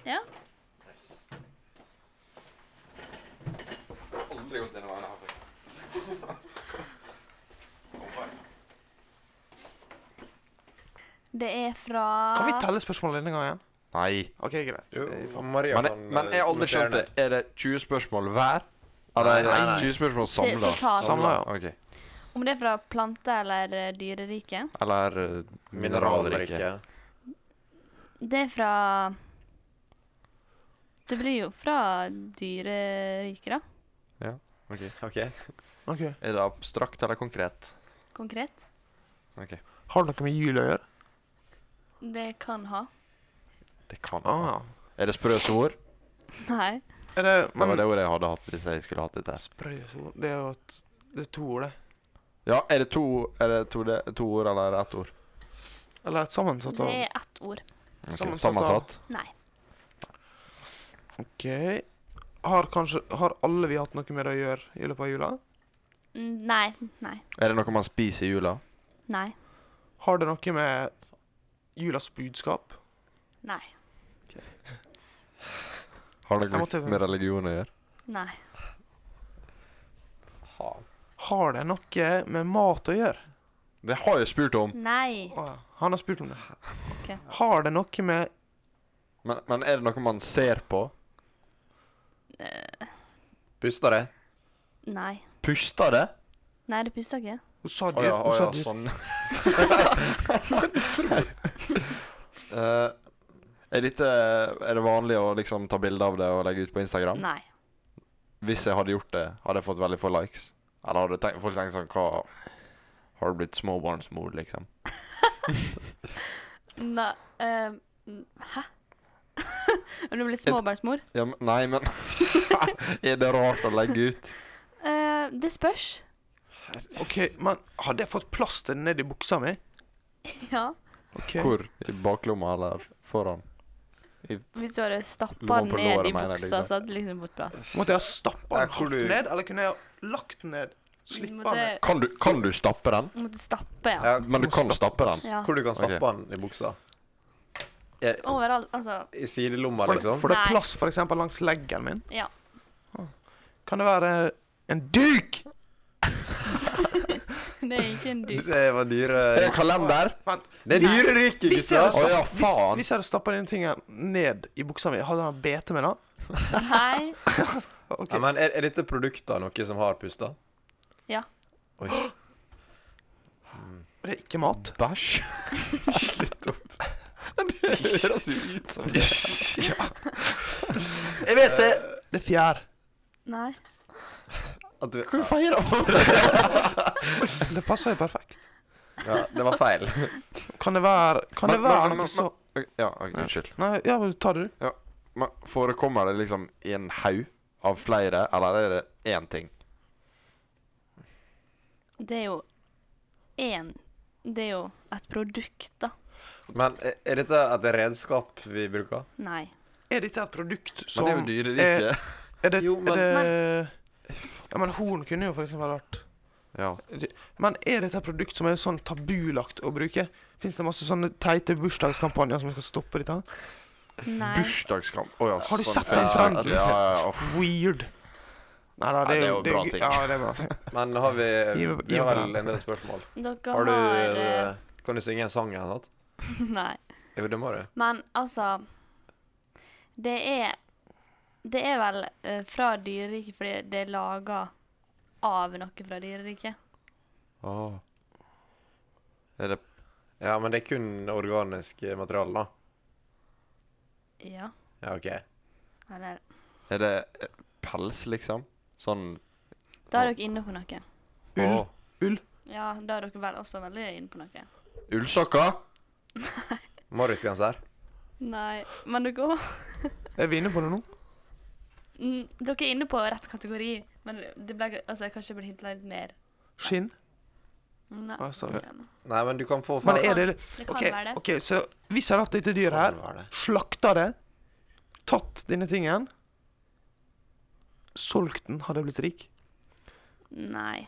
S4: Ja.
S1: Aldri gått denne veien her før.
S4: Det er fra
S2: Kan vi telle spørsmålene denne gangen?
S1: Nei.
S2: OK, greit.
S3: Jo, Maria
S1: Men,
S3: kan eh,
S1: men jeg har aldri skjønt det. Er det 20 spørsmål hver? Eller er det
S3: Nei, nei, nei.
S1: 20 spørsmål
S4: Til-
S1: samla?
S4: totalt.
S2: Samlet, ja.
S1: Ok.
S4: Om det er fra plante- eller eh, dyreriket?
S1: Eller eh, mineralrike.
S3: Mineralrike.
S4: Det er fra Det blir jo fra dyreriket, da.
S1: Ok.
S3: OK.
S2: Ok.
S1: Er det abstrakt eller konkret?
S4: Konkret.
S1: Ok.
S2: Har det noe med jul å gjøre?
S4: Det kan ha.
S1: Det kan
S2: Ah,
S1: Er det sprøse ord?
S4: Nei.
S2: er det,
S1: Det
S2: men
S1: var det ordet jeg hadde hatt hvis jeg skulle hatt dette.
S2: Sprøyesol Det er jo et Det er to ord, det.
S1: Ja, er det to, er det to, det, to ord eller er det ett ord?
S2: Eller et sammensatt
S4: Det
S2: ord.
S4: er ett ord.
S1: Ok,
S2: Sammensatt,
S1: Sammensatt?
S4: Nei.
S2: OK. Har kanskje Har alle vi hatt noe med det å gjøre i løpet av jula?
S4: Mm, Nei. Nei.
S1: Er det noe man spiser i jula?
S4: Nei.
S2: Har det noe med julas budskap?
S4: Nei.
S1: Har det
S2: Jeg måtte-
S1: noe med religion å gjøre?
S4: Nei.
S2: Har det noe med mat å gjøre?
S1: Det har jeg spurt om.
S4: Nei.
S2: Å, ja. Han har spurt om det.
S4: Ok.
S2: Har det noe med
S1: Men, men er det noe man ser på?
S3: Puster det?
S4: Nei.
S1: Puster det?
S4: Nei, det puster ikke.
S2: Hun sa
S1: Å
S2: dyr.
S1: ja, å
S2: hun sa
S1: ja,
S2: dyr.
S1: sånn.
S3: Eh,
S1: Er, dette, er det vanlig å liksom ta bilde av det og legge ut på Instagram?
S4: Nei.
S1: Hvis jeg hadde gjort det, hadde jeg fått veldig få likes? Eller hadde tenkt, folk tenkt sånn Hva Har du blitt småbarnsmor, liksom?
S4: Nei. ehm, n- hæ? Har du blitt småbarnsmor?
S1: Ja, men, nei, men Er det rart å legge ut?
S4: Eh, det spørs.
S2: OK, men hadde jeg fått plaster ned i buksa mi?
S4: Ja.
S2: Ok.
S1: Hvor? I baklomma eller foran?
S4: Hvis du hadde stappa
S1: Lomma
S4: den
S1: på
S4: ned
S1: låret,
S4: i
S1: mener jeg,
S4: buksa,
S1: liksom.
S4: så hadde det liksom fått plass.
S2: Måtte jeg ha stappa
S3: Ja,
S2: den
S3: hvor
S2: hardt
S3: du-
S2: ned, eller kunne jeg ha lagt den ned? Slippa
S4: Måtte,
S2: den ned?
S1: Kan du, kan du stappe den?
S4: måtte stappe, ja.
S3: ja,
S1: Men du kan stappe den?
S4: ja.
S3: hvor du kan stappe
S1: Ok.
S3: den i buksa? Eh,
S4: Overalt, altså.
S3: I sidelomma,
S2: For, det-
S3: liksom?
S2: for det er
S4: Nei.
S2: plass f.eks. langs leggen min.
S4: Ja.
S2: Kan det være en duk?
S4: Det er ikke en duk.
S3: Det var dyre
S1: Er det kalender?
S2: Vent.
S3: Det er dyreriket,
S2: Hvis jeg
S3: gutta!
S1: Å
S2: hadde
S1: ja,
S2: stappet- hvis-
S1: faen.
S2: hvis jeg hadde stappa den tingen ned i buksa mi, hadde han bitt meg da?
S4: Nei.
S2: Ok.
S3: Ja, men er, er dette produkter noe som har pusta?
S4: Ja.
S3: Oi,
S2: Det er ikke mat.
S1: Bæsj?
S3: slutt opp.
S1: Det høres jo ut som det.
S2: Jeg vet det! Det er fjær.
S4: Nei.
S3: At du,
S1: Hva feirer man?
S2: Det passer jo perfekt.
S3: ja, det var feil.
S2: Kan det være Kan det
S1: Men- men-
S2: være
S1: men-
S2: noe så
S1: Ja, ok, unnskyld.
S2: Nei, ja, men ta det du.
S1: Men Forekommer det liksom i en haug av flere, eller er det én ting?
S4: Det er jo én Det er jo et produkt, da.
S3: Men er, er dette et redskap vi bruker?
S4: Nei.
S2: Er dette et produkt som
S1: Men det er jo dyreriket.
S2: Er det,
S3: Jo, men-
S2: er det Ja, men horn kunne jo for eksempel vært
S1: Ja.
S2: Men er dette et produkt som er sånn tabulagt å bruke? Fins det masse sånne teite bursdagskampanjer som skal stoppe dette? her?
S4: Nei.
S1: Bursdagskamp. Å ja,
S2: Har du
S1: sånn
S2: sett
S1: Facebook.
S2: den trenden?
S1: Ja, ja, ja. uff.
S2: Weird. Nei da,
S1: Nei,
S2: det er jo
S1: det er jo bra
S2: gøy-
S1: ting.
S2: Ja, det er bra.
S3: Men har vi
S2: Gi meg-
S3: Vi
S2: gi
S3: har
S2: meg
S3: vel
S2: den.
S3: en del spørsmål.
S4: Dere
S3: Har du
S4: har
S3: eh, Kan du synge en sang eller noe?
S4: eh, Nei.
S3: Jo, det må du.
S4: Men altså Det er Det er vel eh, fra dyreriket fordi det er laga av noe fra dyreriket.
S1: Åh. Er det
S3: Ja, men det er kun organisk eh, materiale, da.
S4: Ja.
S3: Ja, OK.
S4: Eller
S1: Er det eh, pels, liksom? Sånn
S4: Da er dere inne på noe.
S2: Ull.
S1: Åh.
S2: Ull.
S4: Ja, da er dere vel også veldig inne på noe.
S1: Ullsokker?
S3: Morrisgenser.
S4: Nei, men dere òg
S2: Er vi inne på det nå?
S4: Dere er inne på rett kategori, men det ble altså, kanskje burde hintet litt mer.
S2: Skinn?
S4: Nei.
S2: Altså,
S3: Nei, men du kan få
S2: Men
S4: Det
S2: er
S4: kan-
S2: det
S4: det kan
S2: OK,
S4: være det.
S2: ok, så hvis jeg har hatt dette dyret
S3: Kan være
S2: her,
S3: det.
S2: slakta det, tatt denne tingen Solgt den, hadde jeg blitt rik?
S4: Nei.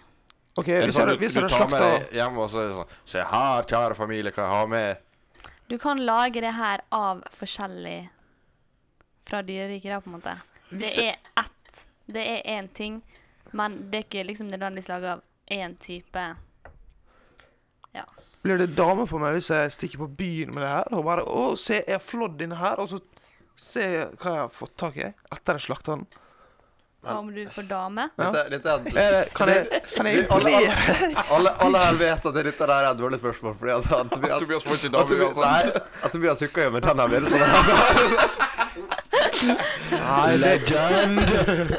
S2: OK,
S1: Er det
S2: hvis jeg
S1: sånn
S2: hadde
S1: du,
S2: hvis jeg
S1: du
S2: hadde
S1: tar med
S2: slakta
S1: deg hjem og så er det sånn Se her, kjære familie, hva jeg har med.
S4: Du kan lage det her av forskjellig fra dyreriket, da, på en måte. Det
S2: Hvis
S4: er ett. Det er én ting, men det er ikke liksom nødvendigvis laget av én type. Ja.
S2: Blir det dame på meg hvis jeg stikker på byen med det her? Og bare Å, se, jeg har flådd denne her, og så se hva jeg har fått tak i etter jeg slakta den.
S4: Hva om du får dame?
S2: Ja.
S3: Dette, dette
S2: Er
S3: er
S2: det- Kan jeg, kan jeg
S3: Alle, alle,
S2: imponere?
S3: alle, alle her vet at dette der er et dårlig spørsmål, fordi at at Tobias
S1: Tobias får ikke
S3: at Tobias-
S1: dame uansett.
S3: Nei, at Tobias hooker jo med den her bildet. Sånn.
S1: High legend!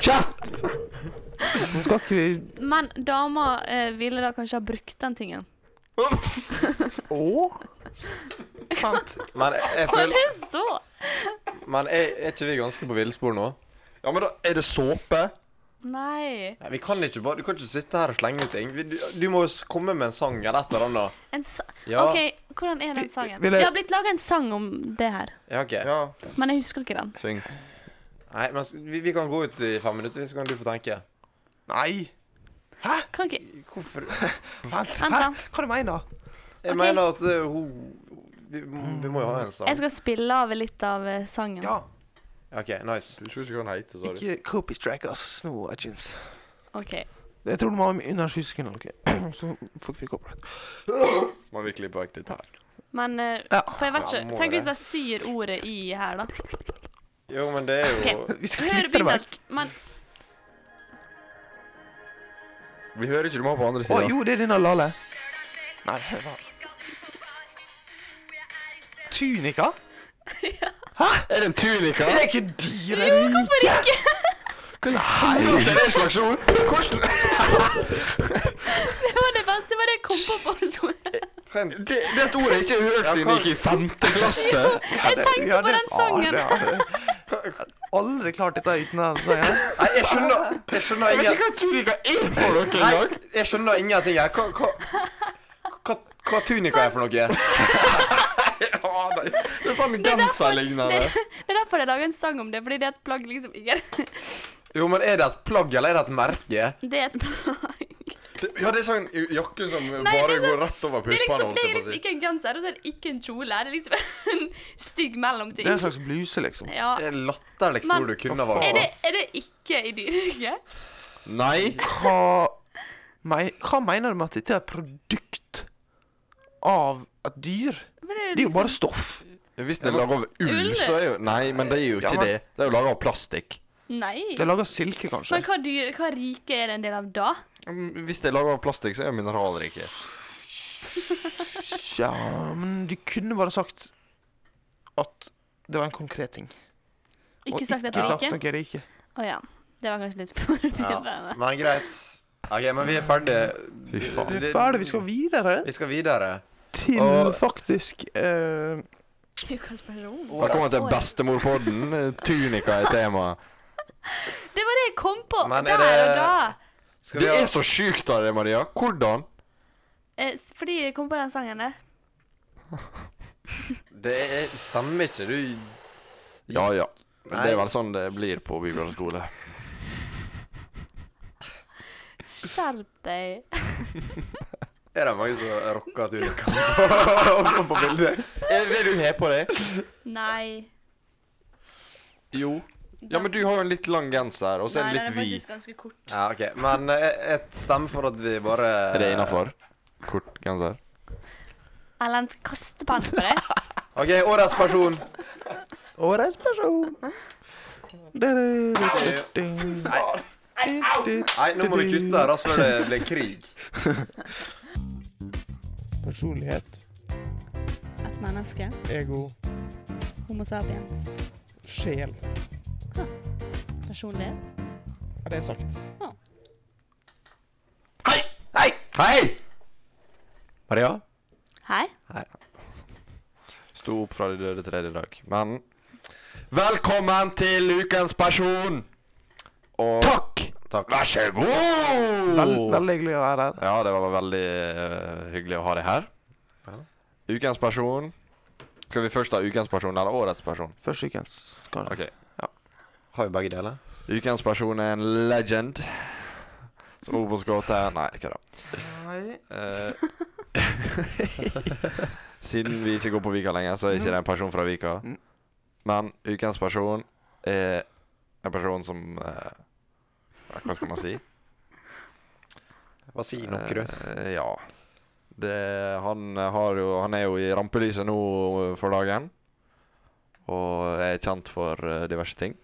S1: Kjeft!
S2: Nå skal ikke vi
S4: Men dama eh, ville da kanskje ha brukt den tingen.
S2: Å? Vent.
S3: Men jeg
S4: Å, det
S3: føler
S4: er så
S3: Men er, er ikke vi ganske på villspor nå?
S1: Ja, men da er det såpe?
S4: Nei.
S3: Nei, vi kan ikke bare Du kan ikke sitte her og slenge ut ting. Vi, du, du må jo s- komme med en sang eller et eller annet.
S4: En sa
S3: Ja.
S4: OK, hvordan er den sangen?
S2: vil jeg-
S4: Det har blitt laga en sang om det her,
S3: Ja, OK.
S1: Ja.
S4: men jeg husker ikke den.
S1: Syng.
S3: Nei, men s- vi, vi kan gå ut i fem minutter, så kan du få tenke.
S2: Nei.
S4: Kan ikke
S3: Hvorfor
S2: Vent.
S4: Vent da.
S2: Hæ? Hva du mener du?
S3: Jeg
S4: Ok.
S3: mener at eh, hun vi, må- vi må jo ha en sang.
S4: Jeg skal spille av litt av eh, sangen.
S2: Ja.
S3: OK, nice.
S1: Du husker ikke hva den heter, sa du?
S2: Ikke copy strike, altså. Sno iTunes.
S4: OK.
S2: Jeg tror den var under sju sekunder, ok? så fikk vi copyright.
S1: Må vi klippe vekk dette her?
S4: Men eh,
S2: Ja.
S4: For jeg vet
S3: Ja,
S4: ikke
S3: må
S4: Tenk hvis
S3: det.
S4: jeg sier ordet i her, da.
S3: Jo, men det er jo
S2: Vi skal
S4: Hør
S2: klippe det altså. vekk.
S4: begynnelsen. Men
S1: Vi hører ikke du må ha på andre
S2: Å
S1: sida.
S2: jo, det er din av Lale. Nei, hør da. Tunika?
S1: er det en tunika?
S2: Det er ikke dyrerike! Jo, hvorfor ikke? Hvordan
S1: Det
S2: helvete?
S1: er en slags ord! Hvordan
S4: det var det beste. Det var det jeg kom på på skolen.
S1: Det, det er et ord jeg ikke har hørt
S3: Ja,
S1: siden
S3: hva-
S1: jeg gikk i femte klasse.
S4: Jeg tenkte på den sangen.
S2: Aldri klart dette uten den sangen.
S3: Nei, jeg skjønner Jeg skjønner
S1: Jeg vet ikke
S3: ingen
S1: hva tunika er for dere
S3: Nei,
S1: engang.
S3: jeg skjønner ingenting her. Hva, hva, hva, hva tunika er for noe?
S1: Ja, nei. Det er faen
S4: Det er derfor-
S1: genserlignende.
S4: det- Det er derfor jeg lager en sang om det, fordi det er et plagg liksom ikke
S3: Jo, men er det et plagg, eller er det et merke?
S4: Det er et plagg.
S1: Ja, det er sånn jakke som
S4: det
S1: bare
S4: er
S1: går
S4: sånn-
S1: rett over
S4: Det er
S1: puppene,
S4: liksom,
S1: holdt
S4: det er
S1: jeg på å
S4: liksom
S1: si.
S4: ikke en genser, og så er det ikke en kjole. Det er liksom en stygg mellomting.
S2: Det er en slags bluse, liksom.
S4: Ja.
S3: Det er latterligste
S4: Men-
S3: ord du kunne
S2: Hva
S3: ha
S2: faen?
S4: Er
S3: valgt.
S4: det, er det ikke i dyreriket?
S1: Nei.
S2: Hva, mei- hva mener du med at dette er et produkt av et dyr? Det
S4: liksom-
S2: er jo bare stoff.
S1: Ja, Hvis den er laga av ull,
S4: Ull?
S1: så er jo Nei, men det er jo
S2: Ja,
S1: ikke
S2: men-
S1: det. Det er jo laga av plastikk.
S4: Nei.
S2: Det er laga av silke, kanskje.
S4: Men hva, dyr, hva rike er det en del av da?
S1: Mm, Hvis det er laga av plastikk, så er det mineralrike.
S2: Ja, men du kunne bare sagt at det var en konkret ting.
S4: Ikke sagt et
S2: ikke sagt
S4: rike?
S2: noe rike.
S4: Å ja. Det var kanskje litt
S3: Ja,
S4: forvirrende.
S3: men greit. OK, men vi er ferdige.
S1: Fy faen.
S2: Det er ferdig, vi skal videre
S3: Vi skal videre.
S2: til
S3: Og-
S2: faktisk eh,
S4: Ukas person.
S1: Velkommen til bestemorpodden. Eh, Tunika er temaet.
S4: Det var det jeg kom på
S3: Men
S4: der
S3: er
S4: og
S3: det-
S4: da.
S3: Skal
S1: Det
S3: vi ha
S1: er så sjukt av deg, Maria. Hvordan?
S4: Eh, s- fordi jeg kom på den sangen der.
S3: Det er, stemmer ikke, du
S1: Ja ja. Men det
S3: Nei.
S1: er vel sånn det blir på Bibelens skole.
S4: Skjerp deg.
S3: Er det mange som rocker tunika på, på bildet?
S1: Er det det Eh, du har på deg?
S4: Nei.
S1: Jo. Ja, men du har jo en litt lang genser, og så er
S4: Nei,
S1: den litt
S4: er
S1: vid.
S4: faktisk ganske kort.
S3: Ja, OK. Men eh, jeg, jeg stemmer for at vi bare
S1: Er det innafor? Kort genser?
S4: Erlend, kastepenn på deg.
S3: OK, årets person.
S2: Årets person.
S3: Nei, nei, nå må vi kutte her, altså, før det blir krig.
S2: Personlighet,
S4: Et menneske.
S2: ego,
S4: Homo sapiens.
S2: sjel.
S4: Personlighet.
S2: Er det sagt?
S1: Hei! Hei! Hei!
S3: Maria?
S4: Hei.
S1: Sto opp fra de døde tredje dag. Men Velkommen til ukens person! Og takk!
S3: Takk.
S1: Vær så
S2: Oh.
S1: god!
S2: Veldig hyggelig å være her.
S1: Ja, det var veldig eh, hyggelig å ha deg her.
S3: Ja.
S1: Ukens person Skal vi først ha ukens person eller årets person?
S2: Første ukens kanskje.
S1: Ok.
S3: Har vi begge deler?
S1: Ukens person er en legend. Som Obos-gåte Nei, kødda.
S2: Nei.
S1: Eh, Siden vi ikke går på Vika lenger, så er ikke det en person fra Vika.
S2: Mm.
S1: Men ukens person er en person som eh, ja, Hva skal man si?
S3: Hva sier dere?
S1: Eh, ja. Det, han, har jo, han er jo i rampelyset nå for dagen. Og er kjent for eh, diverse ting.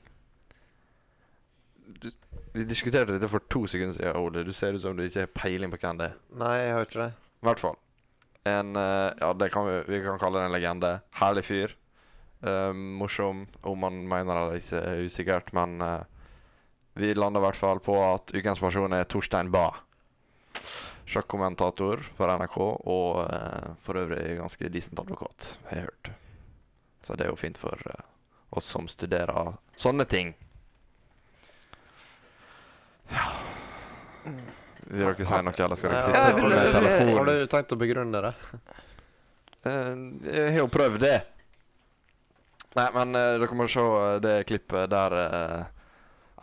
S1: Du, vi diskuterte dette for to sekunder siden, Ole. Du ser ut som du ikke har peiling på hvem det er.
S3: Nei, jeg har ikke det.
S1: I hvert fall. En eh, Ja, det kan vi, vi kan kalle det en legende. Herlig fyr. Eh, morsom, om man mener det eller ikke, er usikkert, men eh, vi lander i hvert fall på at ukens person er Torstein Bae. Sjakkkommentator for NRK og eh, for øvrig ganske decent advokat, har jeg hørt. Så det er jo fint for eh, oss som studerer sånne ting. Ja Vil dere si noe, eller
S3: Eh,
S1: skal dere sitte
S2: jeg vil-
S1: med
S2: jeg vil-
S1: telefonen?
S3: Har du tenkt å begrunne det?
S1: Eh, jeg har jo prøvd det. Nei, men eh, dere må se eh, det klippet der eh,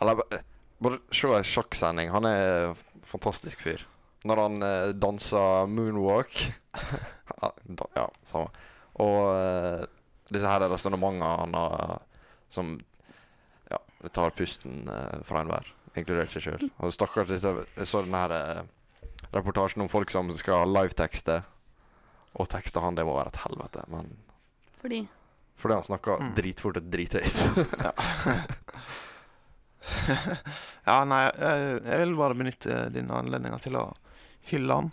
S1: Eller ba- eh, bare se ei sjakksending. Han er f- fantastisk fyr. Når han eh, danser moonwalk Ja, da- Ja, samme. Og eh, disse her resonnementene han har som Og det tar pusten eh, fra enhver, inkludert seg sjøl. Og stakkars disse Jeg så den her eh, reportasjen om folk som skal livetekste, og tekste han, det må være et helvete. Men
S4: Fordi
S1: fordi han snakka
S2: Mm.
S1: dritfort og drithøyt.
S2: Ja, nei, jeg, jeg vil bare benytte denne anledningen til å hylle han.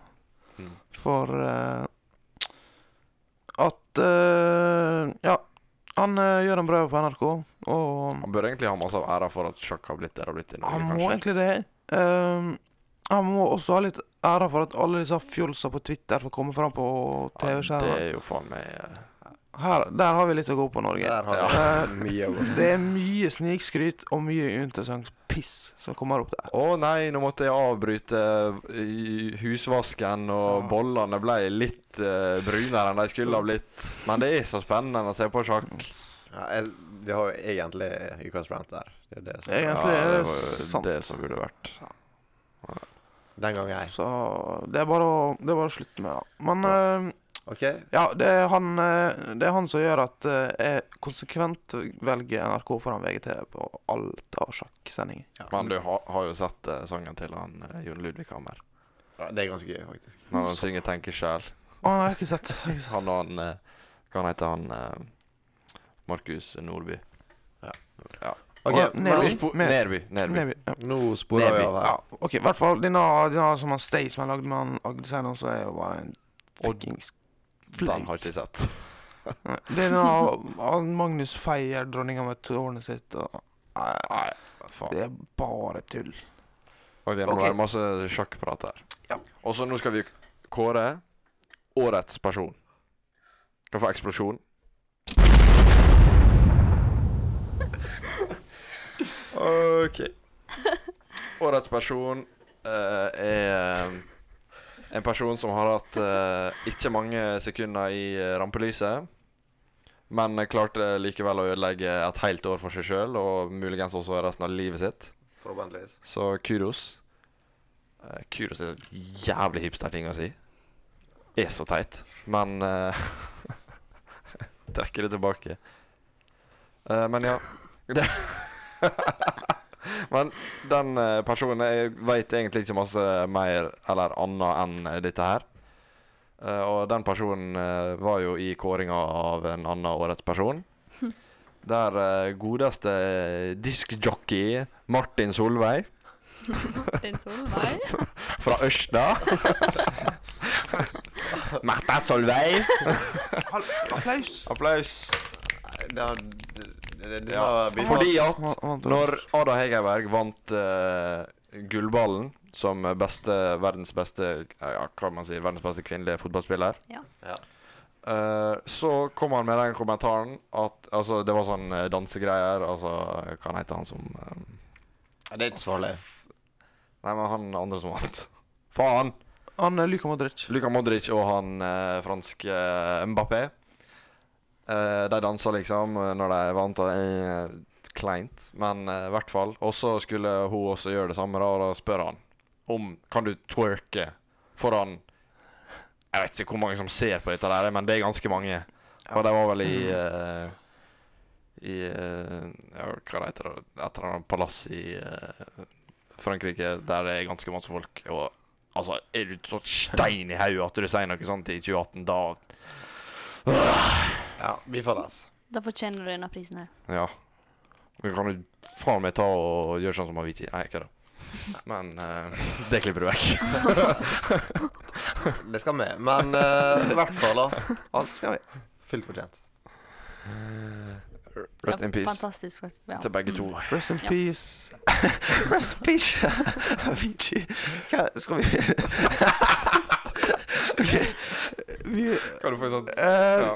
S1: Mm.
S2: For eh, at eh, Ja, han eh, gjør en bra jobb på NRK, og
S1: Han bør egentlig ha masse av æra for at sjakk har blitt det det har blitt i Norge,
S2: han må
S1: kanskje.
S2: egentlig det. Ehm, han må også ha litt ære for at alle disse fjolsa på Twitter får komme fram på
S1: Ja, det
S2: TV-skjermen.
S1: er jo faen meg eh,
S2: Her, Der har vi litt å gå på, Norge.
S3: Der har vi
S2: Eh,
S3: mye å gå
S2: det er mye snikskryt og mye uinteressant piss som kommer opp der.
S1: Å nei, nå måtte jeg avbryte eh, i husvasken, og
S2: Ja.
S1: bollene ble litt eh, brunere enn de skulle ha blitt. Men det er så spennende å se på sjakk.
S3: ja, jeg, Vi har jo egentlig ukas rant der. Det er det som,
S2: Egentlig er det
S1: var jo
S2: sant.
S1: det som burde vært.
S3: Den gangen jeg.
S2: Så det er bare å, det er bare å slutte med det. Men eh,
S3: OK,
S2: ja, det er, han, eh, det er han som gjør at eh, jeg konsekvent velger NRK foran VGTV på alt av sjakksendinger.
S1: Men du har, har jo sett eh, sangen til han eh, Jon Ludvig Hammer.
S3: ja, det er ganske gøy, faktisk.
S1: Når han synger 'Tenker sjæl'.
S2: Å, nei, jeg har ikke sett. Jeg har ikke sett.
S1: Han og han eh, Hva han heter han? Eh, Markus Nordby.
S3: OK,
S2: Og
S3: men
S2: Neby.
S1: Nå spo-
S2: Ned-
S1: Nerby. Nerby.
S2: Neby, ja.
S3: nå sporer vi
S1: Neby.
S3: av
S2: ja,
S3: her.
S2: OK. I hvert fall denne, denne som han Stay som er lagd med han Agdesein, så er jo bare en
S1: Og
S2: fuckings
S1: Den har
S2: flaut.
S1: ikke jeg sett.
S2: Nei, Det er denne han Magnus feier dronninga med tårnet sitt og Nei,
S1: Nei, faen.
S2: det er bare tull.
S1: Og vi har
S2: Ok.
S1: okay. masse sjakkprat her.
S2: Ja.
S1: Og så nå skal vi kåre årets person. Skal få eksplosjon. OK. Årets person eh, er en person som har hatt eh, ikke mange sekunder i eh, rampelyset, men klarte likevel å ødelegge et helt år for seg sjøl, og muligens også resten av livet sitt.
S3: Forhåpentligvis.
S1: Så kudos. Eh, kudos er en jævlig hipster ting å si. Er så teit. Men uh, Trekker det tilbake. Eh, men ja. Det men den eh, personen Jeg veit egentlig ikke masse mer eller annet enn dette her. Eh, og den personen eh, var jo i kåringa av en annen årets person. Der eh, godeste eh, diskjockey Martin Solveig
S4: Martin Solveig
S1: fra Ørsta. Märtha Solveig.
S2: Applaus!
S1: Applaus.
S3: Det har det- det- det
S1: Ja.
S3: har vi-
S1: Fordi at
S2: Han- han-
S1: når Ada Hegerberg vant eh, gullballen som beste, verdens beste ja, hva man sier, verdens beste kvinnelige fotballspiller,
S4: Ja.
S3: Ja.
S1: eh, så kom han med den kommentaren at altså, Det var sånn eh, dansegreier altså, Hva han heter han som eh,
S3: Ja, Det er ikke så farlig.
S1: Nei, men han andre som vant. Faen!
S2: Han er Luka Modric.
S1: Luka Modric og han eh, franske eh, Mbappé. Eh, de dansa liksom eh, når de vant. Og, eh, kleint, men eh, i hvert fall. Og så skulle hun også gjøre det samme, da, og da spør han om kan du twerke foran Jeg vet ikke hvor mange som ser på dette, der, men det er ganske mange. Og de var vel i eh, i eh, ja, hva det heter det? Et eller annet palass i eh, Frankrike der det er ganske masse folk. Og altså, er du så stein i hodet at du sier noe sånt i 2018, da
S3: Ja, vi får det, altså.
S4: Da fortjener du denne prisen her.
S1: Ja. Men kan du faen meg ta og gjøre sånn som Avicii? Nei, ikke det. Men eh, det klipper du vekk.
S3: Det skal med. Men eh, i hvert fall, da.
S2: Alt skal vi.
S3: Fullt fortjent.
S1: Rest in peace
S4: Fantastisk, faktisk. Ja.
S1: til begge to.
S2: Rest in
S4: Ja.
S2: peace. Rest in peace. Avicii. Hva skal vi Ok, Vi
S1: Kan du få en sånn
S2: eh,
S1: Ja.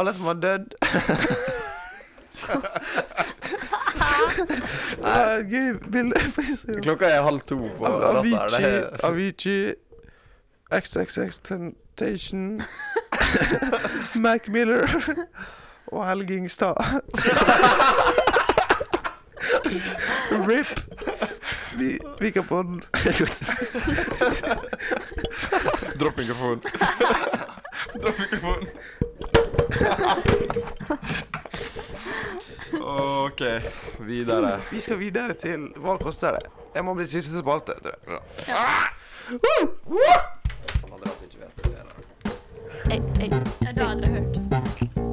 S2: Alle som har dødd. Ja, et Gøy bilde på Instagram.
S3: Klokka er halv to på natta. Det
S2: Avicii,
S3: er
S2: Avicii, XXX Temptation, Mac Miller og Helge Ingstad. RIP. Vi, vi kan få den.
S1: Dropp mikrofonen. Dropp mikrofonen. OK. OK, videre.
S2: Vi skal videre til Hva koster det? Jeg må bli siste spalte, tror jeg.
S3: Han hadde rart ikke vet det. da.
S4: Ei, ei. Ja, det hadde jeg hørt.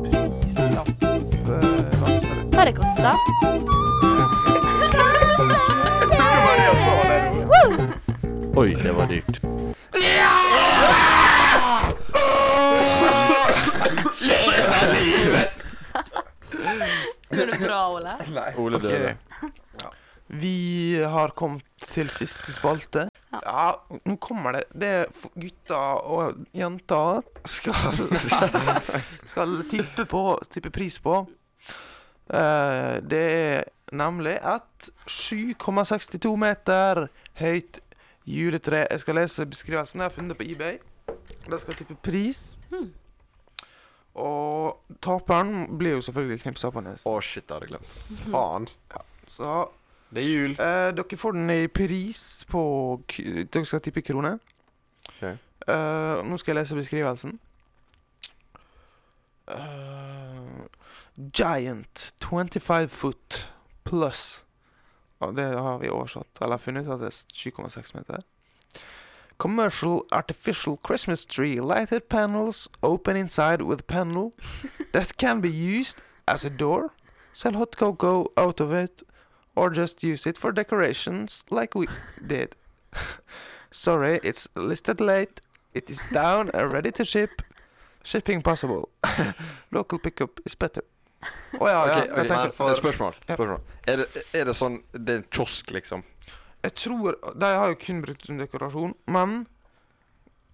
S2: Prislapp øh, hva koster det?
S4: Hva det kosta?
S1: Oi, det var dyrt.
S4: Går det bra, Ole?
S1: Ole døde.
S2: Vi har kommet til siste spalte. Ja, nå kommer det. Det er f- gutter og jenter skal Skal tippe på Tippe pris på. Eh, det er nemlig et 7,62 meter høyt juletre. Jeg skal lese beskrivelsen. Jeg har funnet det på eBay. De skal tippe pris. Og taperen blir jo selvfølgelig knipsa på nesen.
S3: Å, shit, det hadde jeg glemt. Faen.
S2: Så
S3: Det er jul.
S2: Eh, dere får den i pris på k Dere skal tippe krone.
S1: Ok.
S2: Eh, nå skal jeg lese beskrivelsen. Eh, giant 25 foot pluss Ja, Det har vi oversatt, eller funnet ut at det er 7,6 meter. Commercial artificial Christmas tree, lighted panels, open inside with panel that can be used as a door. Sell hot cocoa out of it or just use it for decorations like we did. Sorry, it's listed late. It is down and ready to ship. Shipping possible. Local pickup is better. Å Ah, ja, ja.
S1: Ok, ok,
S2: jeg, tenker,
S1: for... Spørsmål.
S2: Ja.
S1: spørsmål. Er, det, er det sånn Det er en kiosk, liksom?
S2: jeg tror De har jo kun brukt det som dekorasjon, men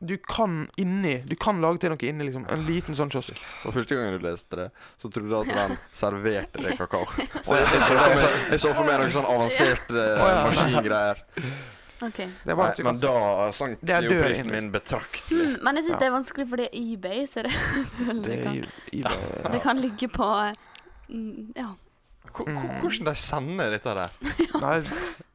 S2: du kan inni Du kan lage til noe inni, liksom. En liten sånn kiosk.
S1: Og Første gangen du leste det, så trodde du at den serverte deg kakao. Så jeg, jeg, så for meg, jeg så for meg noen sånn avanserte
S2: ja.
S1: maskingreier.
S4: Ok.
S2: Det er
S1: Nei,
S2: bare at du
S1: men
S2: kan
S1: da sank
S2: Det er
S1: jo
S2: døren
S1: prisen
S2: inn.
S1: min betraktelig.
S4: Mm, Men jeg syns
S2: Ja.
S4: det er vanskelig fordi det er eBay, så det, det,
S2: det
S4: kan,
S2: i, i,
S4: det kan ligge på mm, Ja.
S1: Ko- ko- Hvordan de sender dette der?
S2: Nei,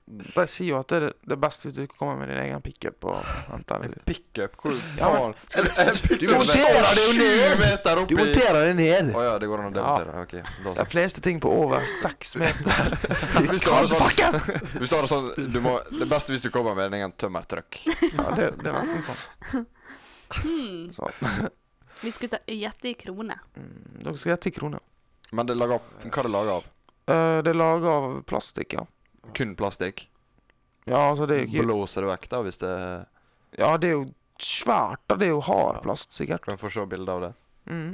S2: de sier jo at det er det best hvis du kommer med din egen pickup og henter den.
S1: Pickup? Hvor
S2: Ja, men-
S1: faen? Skal du- pickup-
S2: Du monterer det jo
S1: Sju
S2: ned!
S1: meter opp i-
S2: deg ned!
S1: Å ja, det går an å demontere. Ok, da
S2: De
S1: så.
S2: fleste ting på over seks meter
S1: Hvis du har det sånn, hvis du har det sånn du må, Det er best hvis du kommer med en egen tømmertrøkk.
S2: Ja, det, det er nesten sånn.
S4: Hmm.
S2: Så,
S4: Vi skulle ta- gjette i kroner.
S2: mm, dere skal gjette i kroner.
S1: Men det er laget av, hva er det laget av?
S2: Eh, det er laga av plastikk, ja.
S1: Kun plastikk?
S2: Ja, altså det er jo ikke
S1: Blåser det vekk, da, hvis det
S2: Ja, det er jo svært, da. Det er jo hard plast, sikkert.
S1: Kan jeg få se bilde av det?
S2: Mm.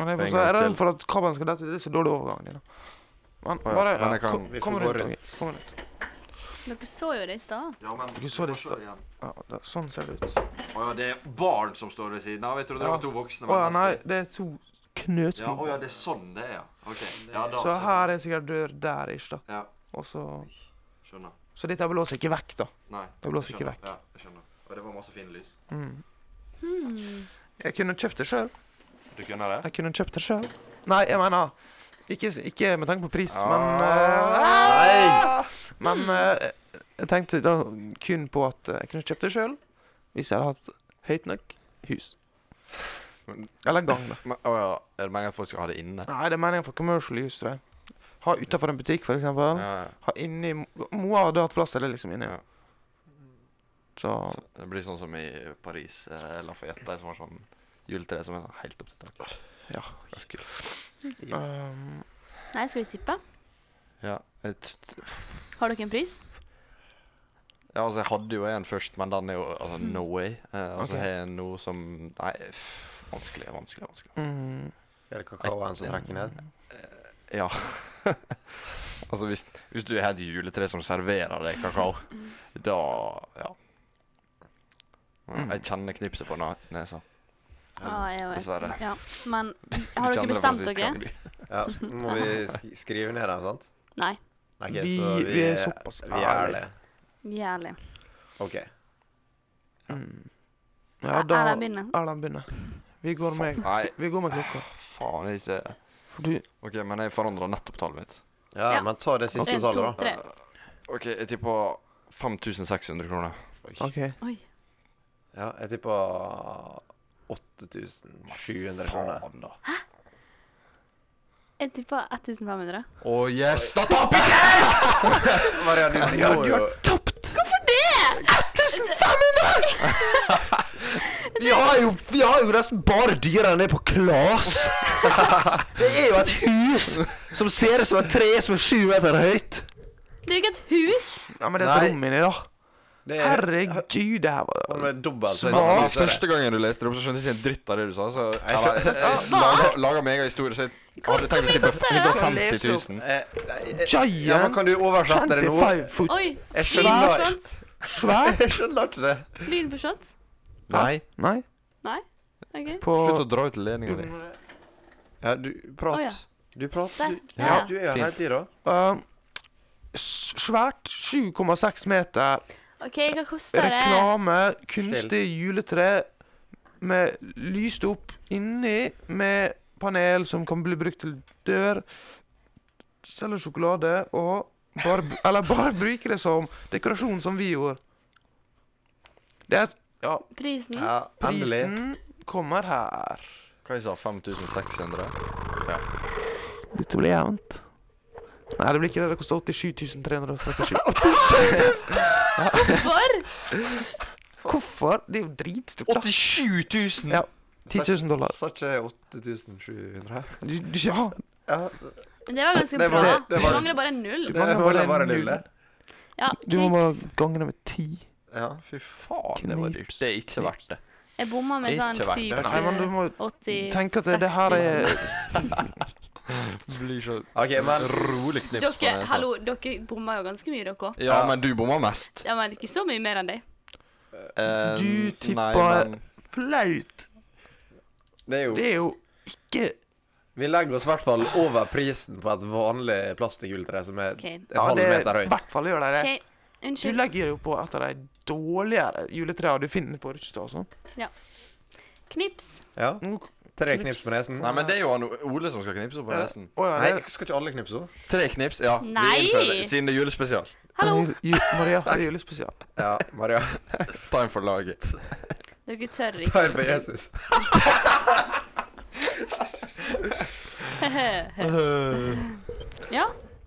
S2: Men jeg
S1: En gang
S2: er så jeg er
S1: til.
S2: redd for at kabelen skal dette ut. Det er så dårlig overgang. Dina. Men
S1: ja,
S2: bare
S1: men jeg kan-
S2: kom-
S3: Vi får
S2: Kom
S3: gå
S2: rundt.
S3: rundt.
S2: ok, Kom rundt.
S4: Dere så jo det i stad.
S1: Ja, men
S2: Du så det i stad. Ja, da, sånn ser det ut.
S1: det er barn som står ved siden av. Jeg trodde
S2: det Ja. var to
S1: voksne.
S2: Å ja, nei. Det er to knøtsko.
S1: det er sånn det er, ja. OK.
S2: Så her er sikkert dør der, ish, da.
S1: Ja.
S2: Og så
S1: Skjønner.
S2: Så dette blåser ikke vekk, da.
S1: Nei.
S2: Det blåser ikke vekk.
S1: Ja, jeg skjønner. Og det var masse fine lys.
S2: Mm. Jeg kunne kjøpt det sjøl.
S1: Du kunne det?
S2: Jeg kunne kjøpt det sjøl. Nei, jeg mener ikke, s- ikke med tanke på pris,
S1: Ah.
S2: men eh, Men eh, jeg tenkte da kun på at eh, jeg kunne kjøpt det sjøl hvis jeg hadde hatt høyt nok hus.
S1: Men-
S2: Eller gang, da.
S1: Men, å ja. Er det meningen at folk skal ha det inne?
S2: Nei, det er meningen for commercial hus. tror jeg. Ha utafor en butikk, for eksempel.
S1: Ja, ja.
S2: Ha inni Moa hadde hatt plass til det, liksom, inni.
S1: Ja.
S2: Så
S1: Så Det blir sånn som i Paris, eh, Lafayette, de som har sånn juletre som er sånn helt opp til taket.
S2: Ja.
S1: Ganske kult.
S2: um,
S4: Nei, skal vi tippe?
S1: Ja, jeg t-
S4: Har dere en pris?
S1: Ja, altså, jeg hadde jo en først, men den er jo altså, no way. Eh, altså,
S2: Ok.
S1: har jeg noe som Nei, f- vanskelig, vanskelig, vanskelig.
S2: mm,
S3: Er det kakaoen som trekker ned?
S1: Ja. altså, hvis, hvis du har et juletre som serverer deg kakao,
S4: Mm.
S1: da Ja. Men Jeg kjenner knipset på na- nesa.
S4: Ja, jeg vet.
S1: Dessverre.
S4: Ja. Men
S1: Du
S4: har dere
S1: kjenner det
S4: bestemt
S1: faktisk,
S4: dere?
S1: kan du?
S3: Ja, så må vi sk- skrive ned den, sant?
S4: Nei.
S3: Nei, ok,
S2: Vi-
S3: så
S2: vi er såpass
S3: Vi er det.
S2: ærlige.
S4: Jævlig.
S3: OK.
S2: mm.
S4: Ja,
S2: Ja, da
S4: Erlend begynner.
S2: Erlend begynner. Vi går med,
S1: Nei,
S2: vi går med klokka.
S1: faen ikke.
S2: For du
S1: OK, men jeg forandra nettopp tallet mitt.
S3: Ja,
S4: Ja.
S3: men ta det siste
S4: En, to,
S3: tallet, da.
S4: tre.
S1: OK, jeg tipper 5600 kroner.
S2: OK.
S4: Oi.
S3: Ja, jeg tippa 8700 kroner.
S1: da.
S4: Jeg tipper 1500.
S3: Å yes, da taper ikke jeg! Mariann, du
S2: Ja,
S3: må
S2: du
S3: jo
S2: har tapt!
S4: Hvorfor det?!
S2: 1500! Vi har jo, vi har jo nesten bare dyra nede på Klas. Det er jo et hus som ser ut som et tre som er sju meter høyt.
S4: Det er jo ikke et hus!
S2: Ja, men det er et
S3: Nei.
S2: rom inni, da.
S3: Det er-
S2: Herregud, det her var
S3: Han er dobbelt så
S2: Smart.
S1: Ja,
S3: Ja,
S1: første gangen du leste det opp, så skjønte jeg ikke en dritt av det du sa. Så
S3: Jeg skjønte-
S1: jeg
S4: Smart!
S1: laga meg egen historie, så jeg
S4: Hvor-
S1: hadde tenkt å
S4: hvor mye
S1: tippe
S4: koster det?
S1: 150 000.
S3: Eh, eh, ja, men
S2: Giant
S3: kan du oversette det nå?
S2: 25 foot
S4: Oi.
S3: Jeg
S4: Lyden
S3: skjønner-
S4: forsvant.
S2: svær.
S3: Jeg skjønner ikke det.
S4: Lyden forsvant.
S1: Nei,
S2: Nei,
S4: Nei? OK.
S2: på
S1: slutt å dra ut ledninga di.
S3: Ja, du prat.
S4: Å, ja.
S3: Du prat.
S4: Der.
S3: Du,
S4: Ja.
S3: du er her hele tida.
S2: eh, s- Svært 7,6 meter.
S4: OK, hva koster det?
S2: Reklame, kunstig juletre med lyst opp inni, med panel som kan bli brukt til dør, selger sjokolade og bare, b- Eller bare bruke det som dekorasjon, som vi gjorde. Det er Ja,
S4: Prisen?
S3: Ja, endelig.
S2: prisen kommer her.
S1: Hva jeg sa 5600?
S2: Dette blir jevnt. Nei, det blir ikke det. Det koster 87 337.
S4: For?
S2: Hvorfor? Det er jo dritstort. da.
S1: 87 000!
S2: Ja. 10 000 dollar.
S3: Sa ikke jeg 8700?
S2: Du, du, ja,
S3: Ja.
S4: Men det var ganske
S3: Det var
S4: bra.
S3: det. Det
S4: Det
S3: var-
S4: mangler bare en null.
S2: Du mangler bare
S3: Det var
S2: en
S3: det
S2: null.
S3: lille.
S4: Ja,
S2: du må bare
S4: knips.
S2: gange det med ti.
S3: Ja.
S1: Fy faen, det var dyrt.
S2: Knips.
S1: Det er ikke verdt det.
S4: Jeg bomma med
S1: Ikke
S4: sånn
S1: verdt det.
S4: type
S2: Nei, men du må
S4: 80
S2: tenke at det, det her er
S4: 6000.
S1: Blir så
S3: OK, men
S1: rolig knips på
S4: Dere,
S1: nesa.
S4: hallo, dere bomma jo ganske mye, dere òg.
S1: Ja, men du bomma mest.
S4: Ja, men ikke så mye mer enn deg.
S1: Eh,
S2: Du tippa-
S1: Nei, men
S2: flaut.
S3: det er jo
S2: Det er jo ikke
S3: Vi legger oss i hvert fall over prisen på et vanlig plastikkjuletre som er
S4: Ok.
S3: en halv
S2: det-
S3: meter
S2: I
S3: høyt.
S2: hvert fall gjør de det.
S4: OK,
S2: Du
S4: unnskyld.
S2: legger jo på et av de dårligere juletrærne du finner på Rustad og sånn.
S4: Knips.
S3: Ja.
S2: Nå-
S3: Tre knips på nesen.
S1: Nei, men det er jo han Ole som skal knipse på nesen.
S2: Å ja,
S3: Nei,
S2: det er
S3: skal ikke alle knipse henne?
S1: Tre knips, ja. vi
S4: Nei!
S1: innfører- Siden det er julespesial.
S4: Hallo.
S2: Ju- ju- Maria, det er julespesial.
S3: Ja, Maria.
S1: Time for laget.
S4: Dere tør ikke.
S3: Ta en på Jesus.
S4: ja,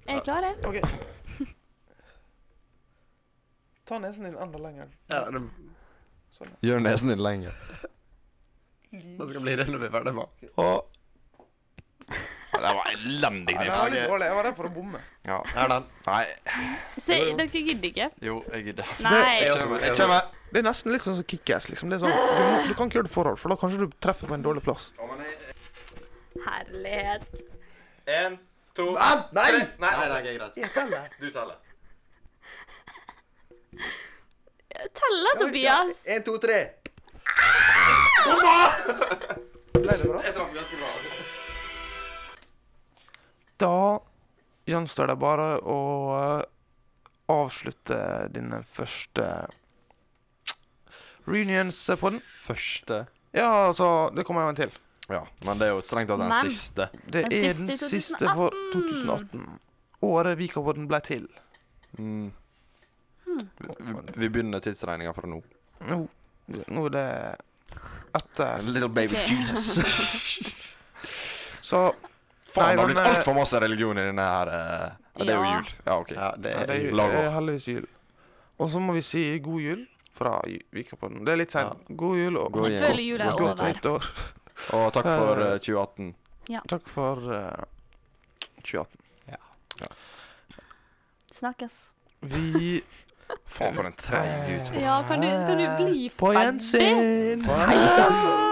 S4: jeg er klar, jeg.
S2: OK. Ta nesen din enda lenger.
S3: Ja, det,
S2: Sånn.
S1: Gjør nesen din lenger.
S3: det skal bli det når vi er ferdig med
S1: Og Det var elendig
S2: Nei, det
S1: knips.
S2: var litt dårlig. Jeg var redd for å bomme.
S1: Ja.
S3: Her den.
S1: Nei.
S4: Se, dere gidder ikke.
S1: Jo, jeg gidder.
S4: Nei.
S3: Jeg
S1: Kommer, Jeg kommer.
S2: Det er nesten litt sånn som kickass, liksom. Det er sånn, du, må- du kan ikke gjøre det forhold, for da kanskje du treffer på en dårlig plass.
S4: Herlighet.
S1: En, to
S3: Ah, nei!
S1: Nei, nei, nei, greit.
S2: Teller.
S1: Du teller.
S4: Telle, Tobias.
S3: En, to, tre.
S2: Ble det bra?
S1: Jeg traff ganske bra.
S2: Da gjenstår det bare å eh, avslutte denne første reunions-podden.
S1: Første.
S2: Ja, altså Det kommer jo en til.
S1: Ja, men det er jo strengt tatt den
S4: Men-
S1: siste.
S2: Det
S4: Den
S2: er
S4: siste
S2: den
S4: i
S2: siste for 2018. Året Vikapodden ble til.
S1: Mm. Vi, vi begynner tidsregninga fra nå.
S2: Nå, nå er det etter
S1: Little baby
S4: Ok.
S1: Jesus.
S2: Så
S1: Faen, det har
S2: men,
S1: blitt
S2: eh,
S1: altfor masse religion i denne her. eh, Ja, det er jo
S4: Ja.
S1: jul. Ja, OK.
S3: Ja, det
S2: Ja, det er,
S3: er
S2: jul.
S1: Lag
S2: det er
S1: opp.
S2: eh, heldigvis jul. Og så må vi si god jul fra Ju- Vikapodden. Det er litt seint. God jul og
S1: God
S4: Jeg
S1: jul.
S4: føler jula er
S1: Godt
S2: godt
S4: over.
S2: nytt år.
S1: Og takk for eh, 2018.
S2: Takk for eh, 2018.
S4: Snakkes.
S2: Vi Eh,
S1: Faen, for en treig gutt.
S4: Ja, kan du, kan du bli
S2: På
S4: ferdig?
S2: gjensyn!
S3: Hei, altså.
S2: Ah!